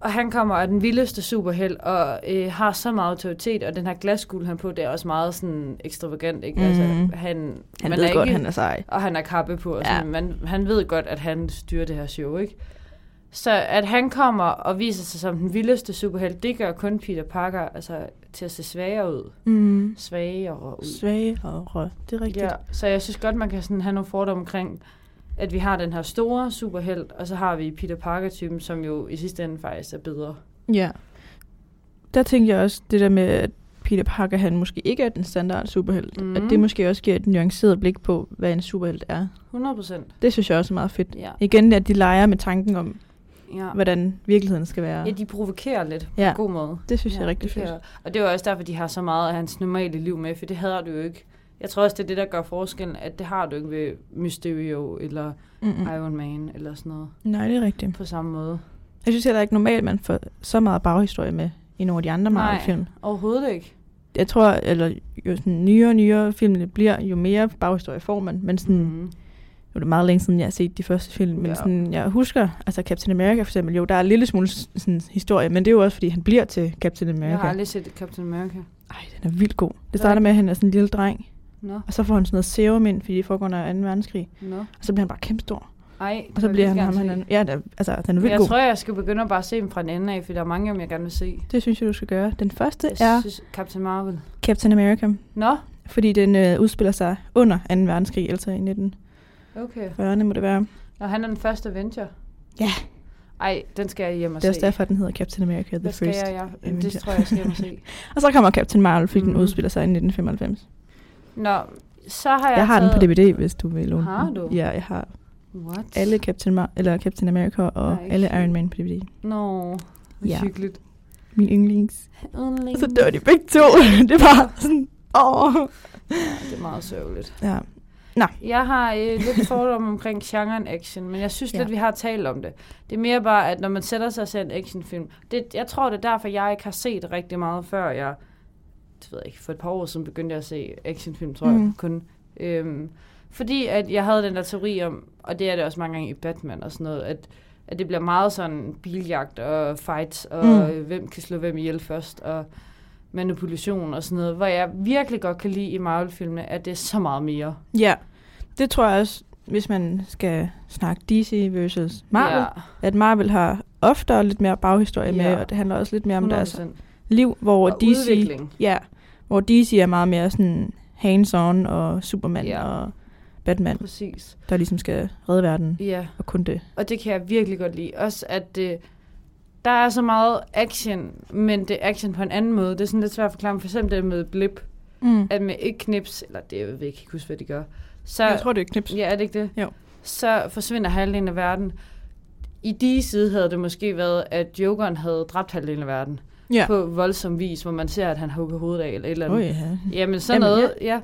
Og han kommer af den vildeste superheld, og øh, har så meget autoritet, og den her glaskugle, han på, det er også meget sådan ekstravagant, ikke? Altså,
Mhm.
han,
Han
man
ved
er
godt,
ikke,
han er sej.
Og han har kappe på, og
Ja.
sådan, ja. man, han ved godt, at han styrer det her show, ikke? Så at han kommer og viser sig som den vildeste superheld, det gør kun Peter Parker altså, til at se svagere ud.
Mm.
Svagere ud.
Svage og rød. Det er rigtigt.
Ja, så jeg synes godt, man kan sådan have nogle fordomme omkring, at vi har den her store superhelt, og så har vi Peter Parker-typen, som jo i sidste ende faktisk er bedre.
ja. Der tænkte jeg også det der med, at Peter Parker, han måske ikke er den standard superhelt.
Mhm.
Mm. At det måske også giver et nuanceret blik på, hvad en superhelt er.
100 procent.
Det synes jeg også er meget fedt.
Ja.
Igen, at de leger med tanken om,
Ja.
hvordan virkeligheden skal være.
ja, de provokerer lidt på
Ja.
en god måde.
Det synes jeg er
Ja,
rigtig
det kan
fedt.
jeg- Og det er jo også derfor, de har så meget af hans normale liv med, for det havde du jo ikke. Jeg tror også, det er det, der gør forskellen, at det har du ikke ved Mysterio eller
Mm-mm.
mm. Iron Man eller sådan noget
Nej, det er rigtigt.
på samme måde.
Jeg synes heller ikke normalt, man får så meget baghistorie med i nogle af de andre
Nej.
Marvel-film.
Overhovedet ikke.
Jeg tror, eller jo sådan nyere og nyere filmene bliver, jo mere baghistorie får man. Men sådan, mm.
Mm.
nu er det meget længe siden, jeg har set de første film, men
Ja.
ja. sådan, jeg husker, altså Captain America for eksempel, jo, der er en lille smule s- sådan, historie, men det er jo også, fordi han bliver til Captain
Jeg har
America.
aldrig set Captain America.
Ej, den er vildt god. Det
er
starter med, at han er sådan en lille dreng,
Nå,
og så får han sådan noget serum ind, fordi det foregår under 2. verdenskrig,
nå.
og så bliver han bare kæmpe stor.
Ej, det
Og så
vil
bliver
jeg
han
lige
ham, han
gerne
er,
se.
ja, den er- altså, den er
Men
vildt
jeg
god.
tror, jeg skal begynde at bare se dem fra en ende af, for der er mange, af dem, jeg gerne vil se.
Det synes jeg, du skal gøre. Den første
Jeg
er
synes, Captain Marvel.
Captain America.
Nå,
Fordi den øh, udspiller sig under 2. verdenskrig, altså i 1940'erne
okay.
må det være.
Nå, han er den første Avenger.
Ja.
Ej, den skal jeg hjem og
Det er
se.
også derfor, den hedder Captain America The
Hvad skal
First.
jeg, jeg? Jamen,
Avenger.
Det tror jeg, jeg skal hjem og se.
Og så kommer Captain Marvel, fordi mm. den
Mhm.
udspiller sig i 1995.
Nå, så har jeg
Jeg har den
taget...
på DVD, hvis du vil låne
Har
den.
du?
Ja, jeg har
What?
alle Captain, Mar- eller Captain America og
Nej,
alle
fint.
Iron Man på DVD.
Nå, no,
Ja.
ja. hyggeligt.
Min yndlings. Og
Yndlings.
så dør de begge to. det var sådan, åh.
Det er meget sørgeligt.
Ja.
Jeg har øh, lidt fordom omkring genren action, men jeg synes
Ja.
ja. lidt, vi har talt om det. Det er mere bare, at når man sætter sig og ser en actionfilm, det, jeg tror, det er derfor, jeg ikke har set rigtig meget, før jeg, det ved jeg ikke, for et par år siden begyndte jeg at se actionfilm, tror mm.
Mm.
jeg kun. Øhm, fordi at jeg havde den der teori om, og det er det også mange gange i Batman og sådan noget, at, at det bliver meget sådan biljagt og øh, fights, og
Mm.
mm. hvem kan slå hvem ihjel først, og manipulation og sådan noget, hvor jeg virkelig godt kan lide i Marvel-filmene, at det er så meget mere.
Ja, det tror jeg også, hvis man skal snakke DC versus Marvel, ja. at Marvel har oftere lidt mere baghistorie ja. med,
Ja.
og det handler også lidt mere
Ja,
om
100%.
deres liv, hvor
Og
DC...
udvikling.
Ja, hvor DC er meget mere sådan hands-on og Superman ja.
Ja.
og Batman,
Præcis.
der ligesom skal redde verden
Ja,
og kun det.
og det kan jeg virkelig godt lide. Også at det, der er så meget action, men det er action på en anden måde. Det er sådan lidt svært at forklare, for eksempel det med blip,
Mm.
at med et knips, eller det jeg ved jeg ikke huske, hvad det gør, Altså, så,
Jeg tror, det er knips.
ja, er det ikke det?
Jo.
Så forsvinder halvdelen af verden. I de side havde det måske været, at Jokeren havde dræbt halvdelen af verden.
Ja.
På voldsom vis, hvor man ser, at han hugger hovedet af, eller et eller andet.
Oh, ja.
Jamen sådan
Jamen,
Jamen, noget, ja. ja.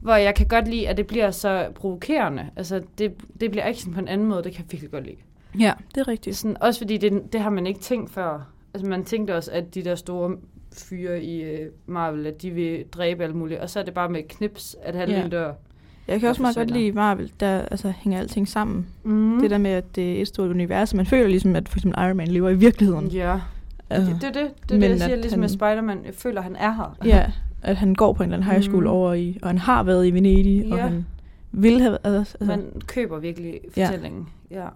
Hvor jeg kan godt lide, at det bliver så provokerende. Altså, det, det bliver action på en anden måde, det kan jeg virkelig godt lide.
ja, det er
Det er
rigtigt.
sådan, også fordi det, det har man ikke tænkt før. Altså, man tænkte også, at de der store fyre i øh, Marvel, at de vil dræbe alt muligt. Og så er det bare med et knips, at halvdelen
Ja.
ja. dør.
Jeg kan også
Og
meget godt
forsvinder.
lide i Marvel, der altså, hænger alting sammen. Mm.
Mm.
Det der med, at det er et stort univers, og man føler ligesom, at for eksempel Iron Man lever i virkeligheden.
Ja,
Altså,
det det, er det, det, er
Men
det jeg
at
siger ligesom
han-
med Spider-Man. Jeg føler, han er her.
ja, at han går på en eller anden high school mm.
Mm.
over i, og han har været i Venedig, ja. og
Ja.
han vil have været. Altså,
Man køber virkelig fortællingen. Ja. ja.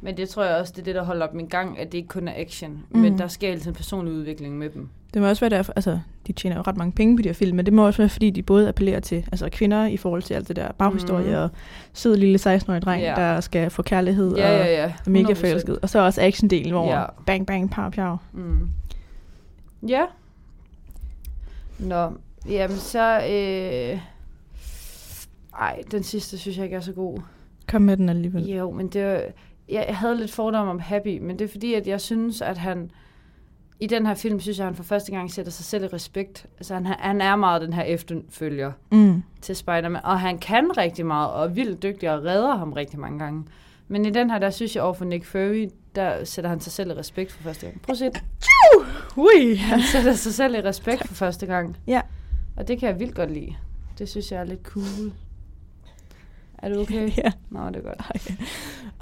Men det tror jeg også, det er det, der holder dem i gang, at det ikke kun er action. Mm.
Mm.
Men der sker altid en personlig udvikling med dem.
Det må også være derfor, altså, de tjener jo ret mange penge på de her film, men det må også være, fordi de både appellerer til altså, kvinder i forhold til alt det der baghistorie, mm.
Mhm.
og sød lille 16-årig dreng,
Ja.
yeah. der skal få kærlighed
Ja,
og
ja, ja.
er mega
100%.
forelsket. Og så også actiondelen, hvor
Ja.
bang, bang, pow, pow.
Mm. Ja. Nå, jamen så... Øh... Ej, den sidste synes jeg ikke er så god.
Kom med den alligevel. Yeah.
Jo, men det var... Jeg jeg havde lidt fordomme om Happy, men det er fordi, at jeg synes, at han... I den her film, synes jeg, at han for første gang sætter sig selv i respekt. Altså, han, han er meget den her efterfølger
Mm.
til Spider-Man, og han kan rigtig meget, og er vildt dygtig, og redder ham rigtig mange gange. Men i den her, der synes jeg overfor Nick Fury, der sætter han sig selv i respekt for første gang. Prøv at se det.
Ui!
Han sætter sig selv i respekt for første gang.
Ja.
Og det kan jeg vildt godt lide. Det synes jeg er lidt cool. Er du okay?
ja.
Nå, det er godt.
Og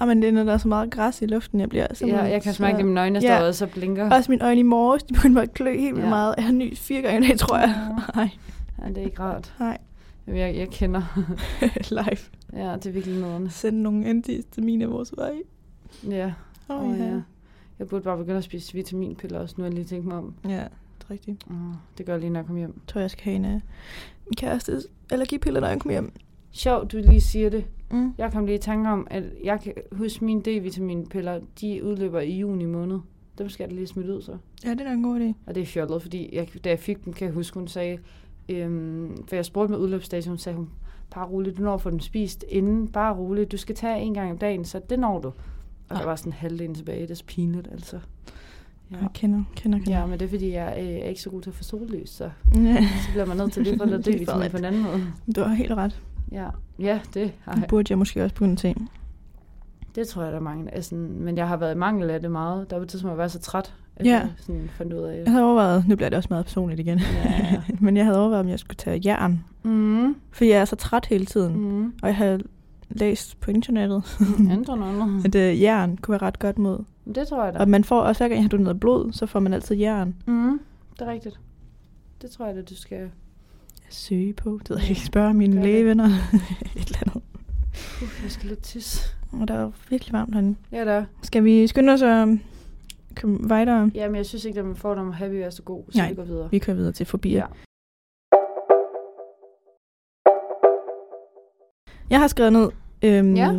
Ah, men det er, når der er så meget græs i luften, jeg bliver
Ja, jeg kan smærke det i mine øjne, der
Ja.
står og så blinker.
Også mine øjne i morges, de begyndte bare at klø helt vildt
Ja.
meget. Jeg har nys fire gange i dag, tror jeg. Nej,
Ja, det er ikke rart.
nej.
Jamen, Jeg, jeg kender.
Live.
Ja, det er virkelig nederne.
Send nogle antihistaminer vores vej.
Ja.
Åh,
Åh, ja. Jeg burde bare begynde at spise vitaminpiller også, nu har jeg lige tænkt mig om.
Ja, det er rigtigt.
Åh, Det gør jeg lige, når jeg kommer hjem.
Jeg tror, jeg skal have en af min kærestes allergipiller, når jeg kommer hjem.
Sjovt, du lige siger det.
Mm.
Jeg kom lige i tanke om, at jeg kan huske mine D-vitaminpiller, de udløber i juni måned. Dem skal jeg da lige smide ud så.
Ja, det er da en god idé.
Og det er fjollet, fordi jeg, da jeg fik dem, kan jeg huske, hun sagde, øhm, for jeg spurgte med udløbsdagen, hun sagde, hun, bare roligt, du når at få dem spist inden, bare roligt, du skal tage en gang om dagen, så det når du. Og
Ej.
der var sådan en halvdelen tilbage, det er så pinligt altså. Ja.
Jeg kender, kender, kender.
Ja, men det er fordi, jeg øh, er ikke så god til at få sollys, så,
Ja.
så bliver man nødt til lige at få lidt
Lige for
D-vitamin
lidt.
på en anden måde.
Du har helt ret.
Ja, ja det har
Det
jeg.
burde jeg måske også begynde at tænke.
Det tror jeg, der er mange. Altså, men jeg har været i mangel af det meget. Der var et tidspunkt, hvor jeg var så træt, at
Ja.
jeg sådan fandt ud af
Jeg
det.
havde overvejet, nu bliver det også meget personligt igen,
Ja.
men jeg havde overvejet, om jeg skulle tage jern.
Mm,
For jeg er så træt hele tiden, mm.
mm.
og jeg havde læst på internettet,
Andre noget.
at øh, jern kunne være ret godt mod.
Det tror jeg da.
Og man får også, hver gang jeg har doneret blod, så får man altid jern.
Mm, det er rigtigt. Det tror jeg, at du skal...
Søge på, det ved jeg ikke, spørge mine
Gør det.
lægevenner, et eller andet.
Uh, jeg skal lidt tisse.
Og der er virkelig varmt herinde.
Ja, der.
Skal vi skynde os at øh, komme videre?
Jamen, jeg synes ikke, at man får dem happy er så god, så
Nej.
vi går videre.
Vi kører videre til fobier. Ja. Jeg har skrevet ned øhm,
Ja.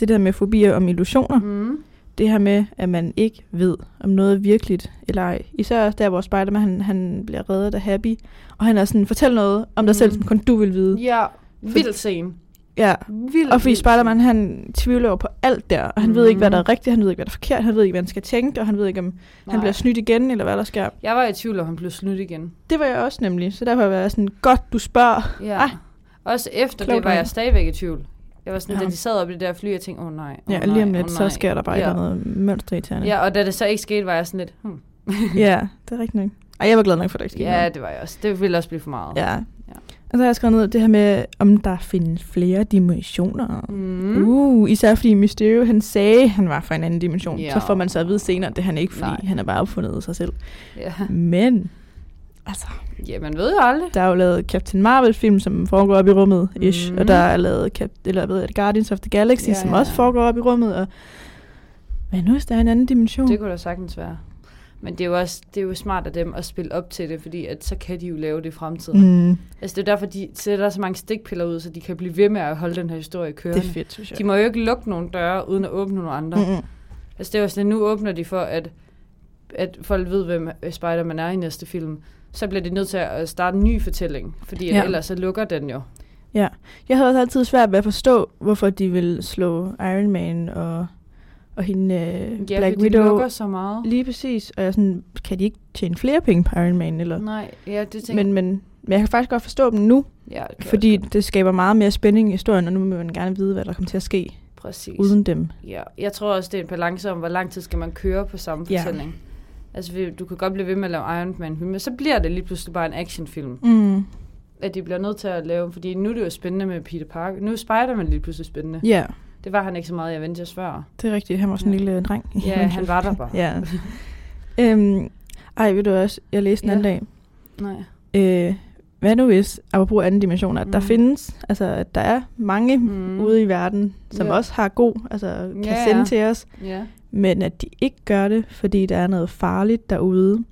det der med fobier om illusioner. Mm.
Mm.
Det her med, at man ikke ved, om noget er virkeligt eller ej. Især også der, hvor Spider-Man han, han bliver reddet af Happy. Og han er sådan, fortæl noget om
Mm.
dig mm. selv, som kun du vil vide.
Ja, vild scene.
Ja.
Vild,
Og fordi
vild
Spider-Man,
scene.
han tvivler jo på alt der, og han mm. ved ikke, hvad
Mhm.
der er rigtigt, han ved ikke, hvad der er forkert, han ved ikke, hvad han skal tænke, og han ved ikke, om Nej. han
Nej.
bliver snydt igen, eller hvad der sker.
Jeg var i tvivl, om han blev snydt igen.
Det var jeg også nemlig, så derfor var jeg sådan, godt du spørger.
Ja.
Ah.
Ah. Også efter
Klogt
det var
nok.
jeg stadigvæk i tvivl. Jeg var sådan,
Ja.
ja. da de sad oppe i det der fly, jeg tænkte, åh oh, nej, oh,
Ja,
nej,
lige om lidt,
oh,
så
nej.
sker der bare ja.
ja.
noget mønsterirriterende.
Ja, og da det så ikke skete, var jeg sådan lidt, hmm.
ja, det er rigtigt nok. Og jeg var glad nok for, at der ikke skete
ja,
noget.
det var jeg også. Det ville også blive for meget.
Ja.
Ja.
Og så har jeg skrevet ned det her med, om der findes flere dimensioner.
Mm.
Mm. Uh, især fordi Mysterio, han sagde, han var fra en anden dimension.
Ja.
Så får man så at vide senere, at det er han ikke, fordi
Nej.
han er bare opfundet sig selv.
Ja.
Men Altså,
Ja, man ved jo aldrig.
der er jo lavet Captain Marvel-film, som foregår op i rummet, ish, mm.
Mhm.
og der er lavet Cap- eller, hvad hedder det, Guardians of the Galaxy, ja,
Ja,
som
ja,
også
ja.
foregår op i rummet, og men nu er der er en anden dimension.
Det kunne da sagtens være. Men det er jo også det er jo smart af dem at spille op til det, fordi at så kan de jo lave det i fremtiden. Mm.
mm,
Altså det er derfor, de sætter så mange stikpiller ud, så de kan blive ved med at holde den her historie
det
kørende.
er fedt, synes jeg.
de må jo ikke lukke nogle døre, uden at åbne nogle andre. Mm.
Mm, mm.
Altså det er jo sådan, at nu åbner de for, at, at folk ved, hvem øh, Spider-Man er i næste film. Så bliver de nødt til at starte en ny fortælling, fordi
Ja.
ja. ellers så lukker den jo.
Jeg havde også altid svært ved at forstå, hvorfor de ville slå Iron Man og, og hende øh,
Ja,
Black
fordi de
Widow.
lukker så meget.
Lige præcis, og jeg er sådan, kan de ikke tjene flere penge på Iron Man? Eller?
Nej, ja, Mm, det tænker
Men, men, men jeg kan faktisk godt forstå dem nu,
ja, det kan jeg
fordi
også
det skaber meget mere spænding i historien, og nu vil man gerne vide, hvad der kommer til at ske
godt. Præcis.
uden dem.
Ja, jeg tror også, det er en balance om, hvor lang tid skal man køre på samme
Ja.
fortælling. Altså, vi- du kan godt blive ved med at lave Iron Man, men så bliver det lige pludselig bare en actionfilm,
Mm.
at de bliver nødt til at lave, fordi nu er det jo spændende med Peter Parker. Nu er Spider-Man lige pludselig spændende.
Ja,
Det var han ikke så meget i Avengers før.
det er rigtigt. Han var sådan en lille dreng.
Ja, han var der bare.
ja. øhm, ej, ved du også, jeg læste den anden
Ja.
dag,
Nej.
øh, hvad nu hvis, apropos anden dimensioner, mm. der
Mm.
findes, altså at der er mange mm.
Mm.
ude i verden, som
Ja.
også har god, altså kan
Ja,
sende
ja.
til os,
Ja.
men at de ikke gør det, fordi der er noget farligt derude,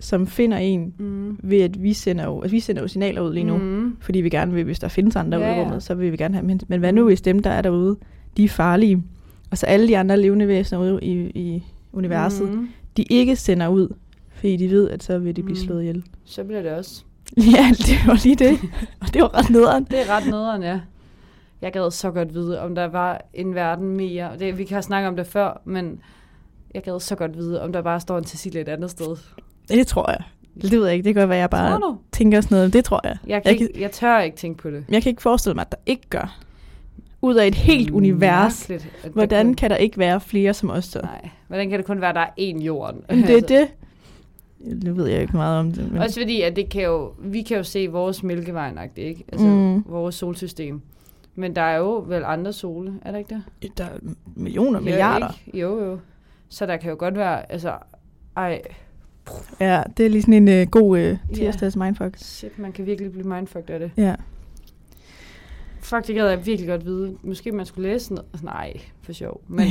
som finder en
Mm.
ved, at vi sender jo, altså, vi sender jo signaler ud lige nu, mm.
Mm.
fordi vi gerne vil, hvis der findes andre ja,
Ja,
ude i
ja.
rummet, så vil vi gerne have dem hen. Men hvad nu hvis dem, der er derude, de er farlige, og så alle de andre levende væsener ude i, i universet, mm.
Mm.
de ikke sender ud, fordi de ved, at så vil de blive
Mm.
slået ihjel.
Så bliver det også.
Ja, det var lige det. Og det var ret nederen.
Det er ret nederen, ja. Jeg gad så godt vide, om der var en verden mere. Det, vi kan snakke om det før, men jeg gad så godt vide, om der bare står en Cecilie et andet sted.
Det tror jeg. Det ved jeg ikke. Det kan godt være, jeg bare
Tror du?
tænker sådan noget. Det tror jeg.
Jeg, kan
Jeg
jeg, ikke, jeg tør ikke tænke på det.
Men jeg kan ikke forestille mig, at der ikke gør. Ud af et helt univers.
Mm, Mærkeligt, at der
Hvordan
kun,
kan der ikke være flere som os så?
Nej, hvordan kan det kun være, at der er én jorden? Altså,
Men Det er det. Nu ved jeg ikke meget om det. Men...
Også fordi, at det kan jo, vi kan jo se vores mælkevejen, ikke? Altså
Mm.
mm. vores solsystem. Men der er jo vel andre sole, er der ikke det?
Der er millioner,
Jo,
milliarder.
Ikke? Jo, jo. Så der kan jo godt være, altså, ej,
Ja, det er lige sådan en øh, god øh,
Ja.
tirsdags mindfuck.
shit, man kan virkelig blive mindfucked af det.
Ja.
Fuck, det gad jeg virkelig godt vide. Måske man skulle læse noget. Nej, for sjov. Men,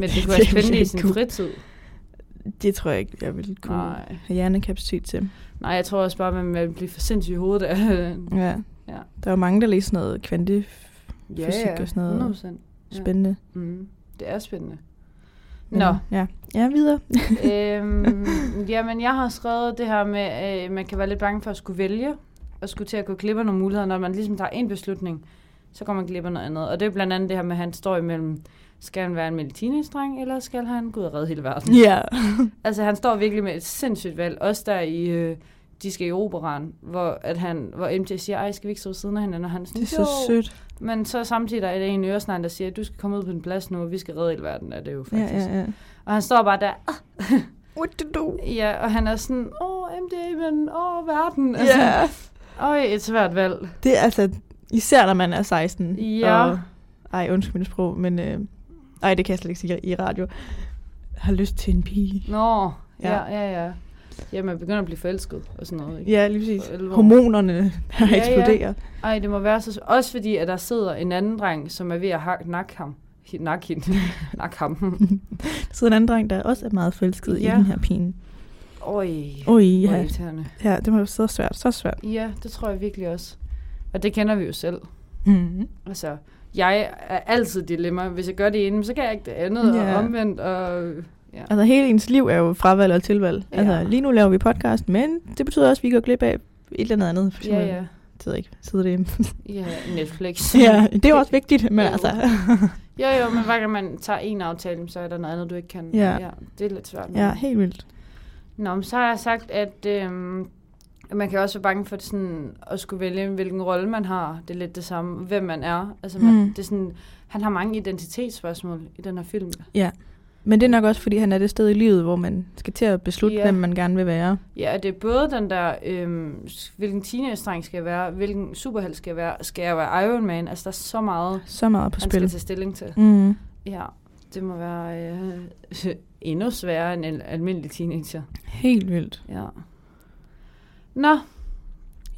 men det kunne være
Det ville
spændende i
jeg
sin
kunne.
fritid.
Det tror jeg ikke, jeg ville kunne Nej.
Nej.
have hjernekapacitet til.
Nej, jeg tror også bare, at man vil blive for sindssyg i hovedet af øh,
Ja.
Ja.
Der er jo mange, der læser sådan noget kvantefysik og sådan noget.
100%. Ja.
Spændende.
Mm. Det er spændende.
Men,
Nå,
Ja, ja videre.
øhm, jamen jeg har skrevet det her med, at øh, man kan være lidt bange for at skulle vælge, og skulle til at gå glip af nogle muligheder. Når man ligesom tager en beslutning, så går man glip af noget andet. Og det er blandt andet det her med, at han står imellem, skal han være en almindelig teenage-dreng, eller skal han gå ud og redde hele verden?
Ja.
Altså han står virkelig med et sindssygt valg, også der i... Øh, de skal i operan, hvor, at han, hvor MT siger, ej, skal vi ikke sidde ved siden af hinanden? Og han er sådan,
Det er så
"Jo."
sødt.
Men så samtidig er det en øresnegl, der siger, at du skal komme ud på en plads nu, og vi skal redde hele verden, er det jo
Ja,
faktisk.
ja, ja.
Og han står bare der, "Ah."
What to do?
ja, og han er sådan, åh, MD, men åh, verden.
Ja.
Altså, Øj, et svært valg.
Det er altså, især når man er 16.
Ja.
Og, ej, undskyld mit sprog, men... Øh, ej, det kan jeg slet ikke sige i radio. Har lyst til en pige.
Nå,
Ja.
ja, ja, ja. Ja, man begynder at blive forelsket og sådan noget, ikke?
Ja, lige præcis.
For alvor.
Hormonerne,
Ja,
der
ja.
eksploderer.
Ej, det må være så... Også fordi, at der sidder en anden dreng, som er ved at hak- nakke ham. Hi- Nakke hende. nakke ham.
Der sidder en anden dreng, der også er meget forelsket ja. i
Ja.
den her pige.
Øj,
Oj,
hvor
ja.
irriterende.
Ja, det var jo så svært, så svært.
Ja, det tror jeg virkelig også. Og det kender vi jo selv.
Mm.
Altså, jeg er altid et dilemma. Hvis jeg gør det ene, så kan jeg ikke det andet,
Ja.
og omvendt, og... Ja.
Altså hele ens liv er jo fravalg og tilvalg. Ja. Altså
Ja.
lige nu laver vi podcast, men det betyder også, at vi går glip af et eller andet andet. For
Ja,
eksempel,
ja.
Det ved jeg ikke, sidder derhjemme.
Ja, Netflix.
Ja, det er jo også vigtigt, men
Jo.
altså...
Jo, jo, men hver gang man tager en aftale, så er der noget andet, du ikke kan.
Ja.
ja det er lidt svært.
Ja, helt vildt.
Nå, men så har jeg sagt, at øhm, man kan også være bange for det sådan, at skulle vælge, hvilken rolle man har. Det er lidt det samme, hvem man er. Altså, man,
Mm.
det er sådan, han har mange identitetsspørgsmål i den her film.
Men det er nok også, fordi han er det sted i livet, hvor man skal til at beslutte,
Ja.
hvem man gerne vil være.
Ja, og det er både den der, øhm, s- hvilken teenage-dreng skal jeg være, hvilken superheld skal jeg være, skal jeg være Iron Man? Altså, der er så meget,
Så meget på
han
spil.
skal tage stilling til.
Mm.
Ja, det må være øh, endnu sværere end en almindelig teenager.
Helt vildt.
Ja. Nå.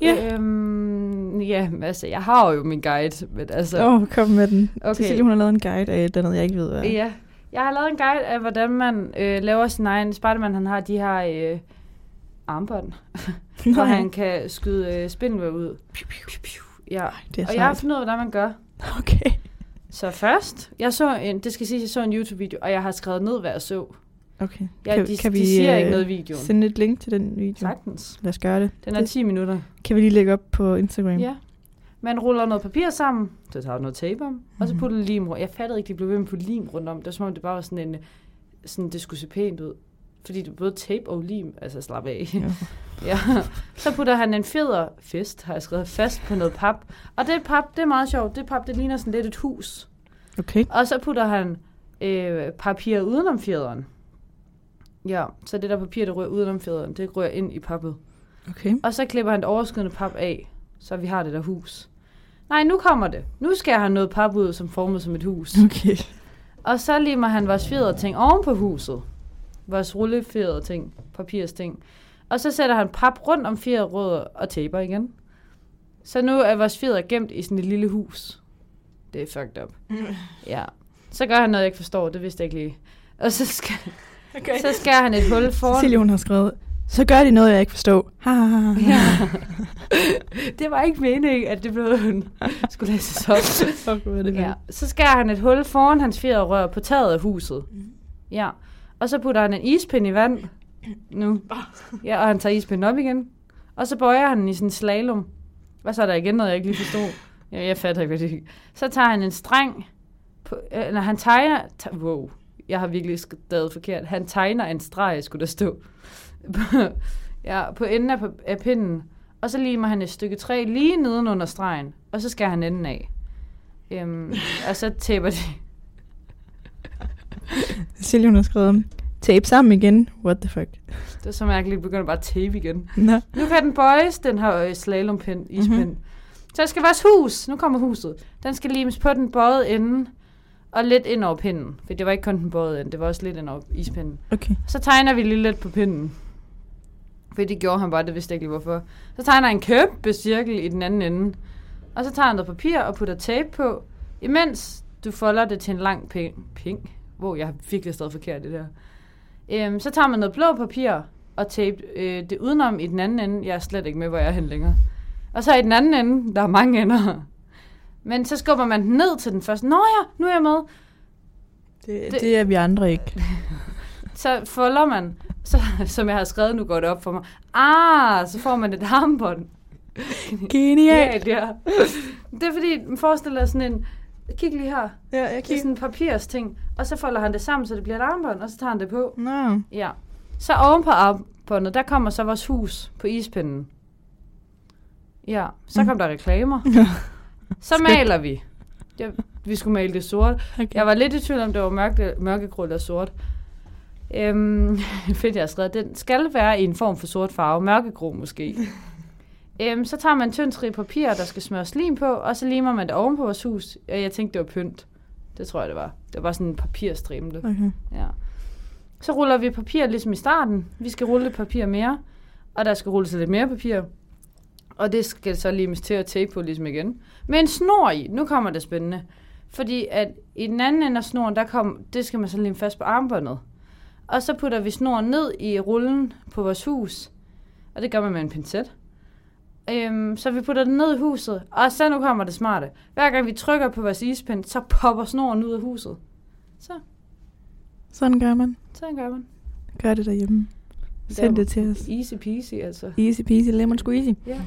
Ja.
Øhm, ja, altså, jeg har jo min guide, men altså...
Åh, oh, kom med den.
Okay.
Okay. Cecilie, hun har lavet en guide af et eller andet, jeg ikke ved, hvad.
Ja. Jeg har lavet en guide af, hvordan man øh, laver sin egen... Spiderman, han har de her øh, armbånd, hvor
Nej,
han kan skyde øh, spindelvæv ud. Ja.
det er
Og jeg har
sejt.
fundet ud af, hvordan man gør.
Okay.
Så først, jeg så en, det skal siges, jeg så en YouTube-video, og jeg har skrevet ned, hvad jeg så.
okay.
Ja, de, de siger
øh,
ikke noget i videoen.
Sende et link til den video?
Sagtens.
Lad os gøre det.
Den er
Det-
10 minutter.
Kan vi lige lægge op på Instagram?
Ja. Man ruller noget papir sammen, så tager du noget tape om, og så
Mhm.
putter du lim rundt. Jeg fattede ikke, de blev ved med at putte lim rundt om. Det var som om, det bare var sådan en, øh, sådan, det skulle se pænt ud. Fordi du både tape og lim, altså slap af.
Jo.
ja. Så putter han en fjeder, fest har jeg skrevet, fast på noget pap. Og det pap, det er meget sjovt, det pap, det ligner sådan lidt et hus.
Okay.
Og så putter han øh, papir udenom fjederen. Ja, så det der papir, der rører udenom fjederen, det rører ind i pappet.
Okay.
Og så klipper han det overskydende pap af, så vi har det der hus. Nej, nu kommer det. Nu skærer han noget pap ud, som formet som et hus.
Okay.
Og så limer han vores fjeder ting oven på huset. Vores rullefjeder ting, papirsting. Og så sætter han pap rundt om fjederrødder og taper igen. Så nu er vores fjeder gemt i sådan et lille hus. Det er fucked up. Ja. Så gør han noget, jeg ikke forstår. Det vidste jeg ikke lige. Og så, skal,
okay.
så skærer han et hul foran.
Cecilie, hun har skrevet, så gør de noget, jeg ikke forstår. Ha, ha, ha, ha.
Ja. det var ikke meningen, at det blev hun skulle læses op.
Fuck, hvor er det
Ja.
vildt.
Så skærer han et hul foran hans fjederrør på taget af huset. Ja. Og så putter han en ispind i vand. Nu. Ja, og han tager ispinden op igen. Og så bøjer han den i sådan en slalom. Og så er der igen noget, jeg ikke lige forstod. Jeg, jeg fatter ikke, hvad det er. Så tager han en streng. På, øh, når han tegner... Te, wow, jeg har virkelig stadig forkert. Han tegner en streg, skulle der stå. ja, på enden af, af pinden. Og så limer han et stykke træ lige nedenunder stregen. Og så skærer han enden af. Øhm, og så tæpper de.
Cecilie, hun har skrevet, tape sammen igen. What the fuck.
Det er så mærkeligt, begynder bare at tape igen.
Nå.
Nu kan den bøjes, den her øh, slalompind, ispind. Mm-hmm. Så skal vores hus, nu kommer huset, den skal limes på den bøjede ende og lidt ind over pinden. For det var ikke kun den bøjede ende, det var også lidt ind over ispinden.
Okay.
Så tegner vi lige lidt på pinden. For det gjorde han bare, det vidste jeg ikke lige hvorfor. Så tegner han en kæmpe cirkel i den anden ende. Og så tager han noget papir og putter tape på, imens du folder det til en lang ping. ping. Hvor jeg har virkelig stadig forkert i det her. Øhm, så tager man noget blå papir og tape øh, det udenom i den anden ende. Jeg er slet ikke med, hvor jeg er hen længere. Og så i den anden ende, der er mange ender. Men så skubber man den ned til den første. Nå ja, nu er jeg med.
Det,
Det-
det, er vi andre ikke.
så folder man, så, som jeg har skrevet, nu går det op for mig. Ah, så får man et armbånd.
Genialt.
ja. Det er fordi, forestil dig sådan en, kig lige her,
Ja, jeg
det er sådan en papirsting, og så folder han det sammen, så det bliver et armbånd, og så tager han det på.
Nå.
Ja. Så oven på armbåndet, der kommer så vores hus på ispinden. Ja, så kom der reklamer. Så maler vi. Ja, vi skulle male det sort.
Okay.
Jeg var lidt i tvivl om, det var mørke, mørkegrå eller sort. Øhm, fedt, jeg har skrevet. Den skal være i en form for sort farve. Mørkegrå måske. øhm, så tager man tynd stribe papir, der skal smøres lim på, og så limer man det oven på vores hus. Og jeg tænkte, det var pynt. Det tror jeg, det var. Det var bare sådan en papirstrimle.
Okay.
Ja. Så ruller vi papir ligesom i starten. Vi skal rulle lidt papir mere, og der skal rulles lidt mere papir. Og det skal så limes til at tape på ligesom igen. Med en snor i. Nu kommer det spændende. Fordi at i den anden ende af snoren, der kom, det skal man så lime fast på armbåndet. Og så putter vi snoren ned i rullen på vores hus. Og det gør man med en pincet. Øhm, så vi putter den ned i huset. Og så nu kommer det smarte. Hver gang vi trykker på vores ispind, så popper snoren ud af huset.
Sådan gør man.
Sådan gør man.
Gør det derhjemme. Send
Der-
det til os.
Easy peasy, altså.
Easy peasy, lemon squeezy.
Ja.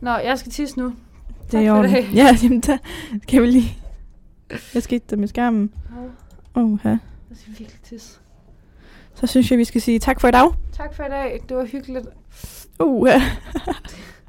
Nå, jeg skal tisse nu.
Det er i
for
orden.
det.
Ja, jamen, der skal vi lige... Jeg skete der med skærmen. Åh, ja.
Jeg skal virkelig tisse.
Så synes jeg, vi skal sige tak for i dag.
Tak for i dag. Det var hyggeligt.
Uh,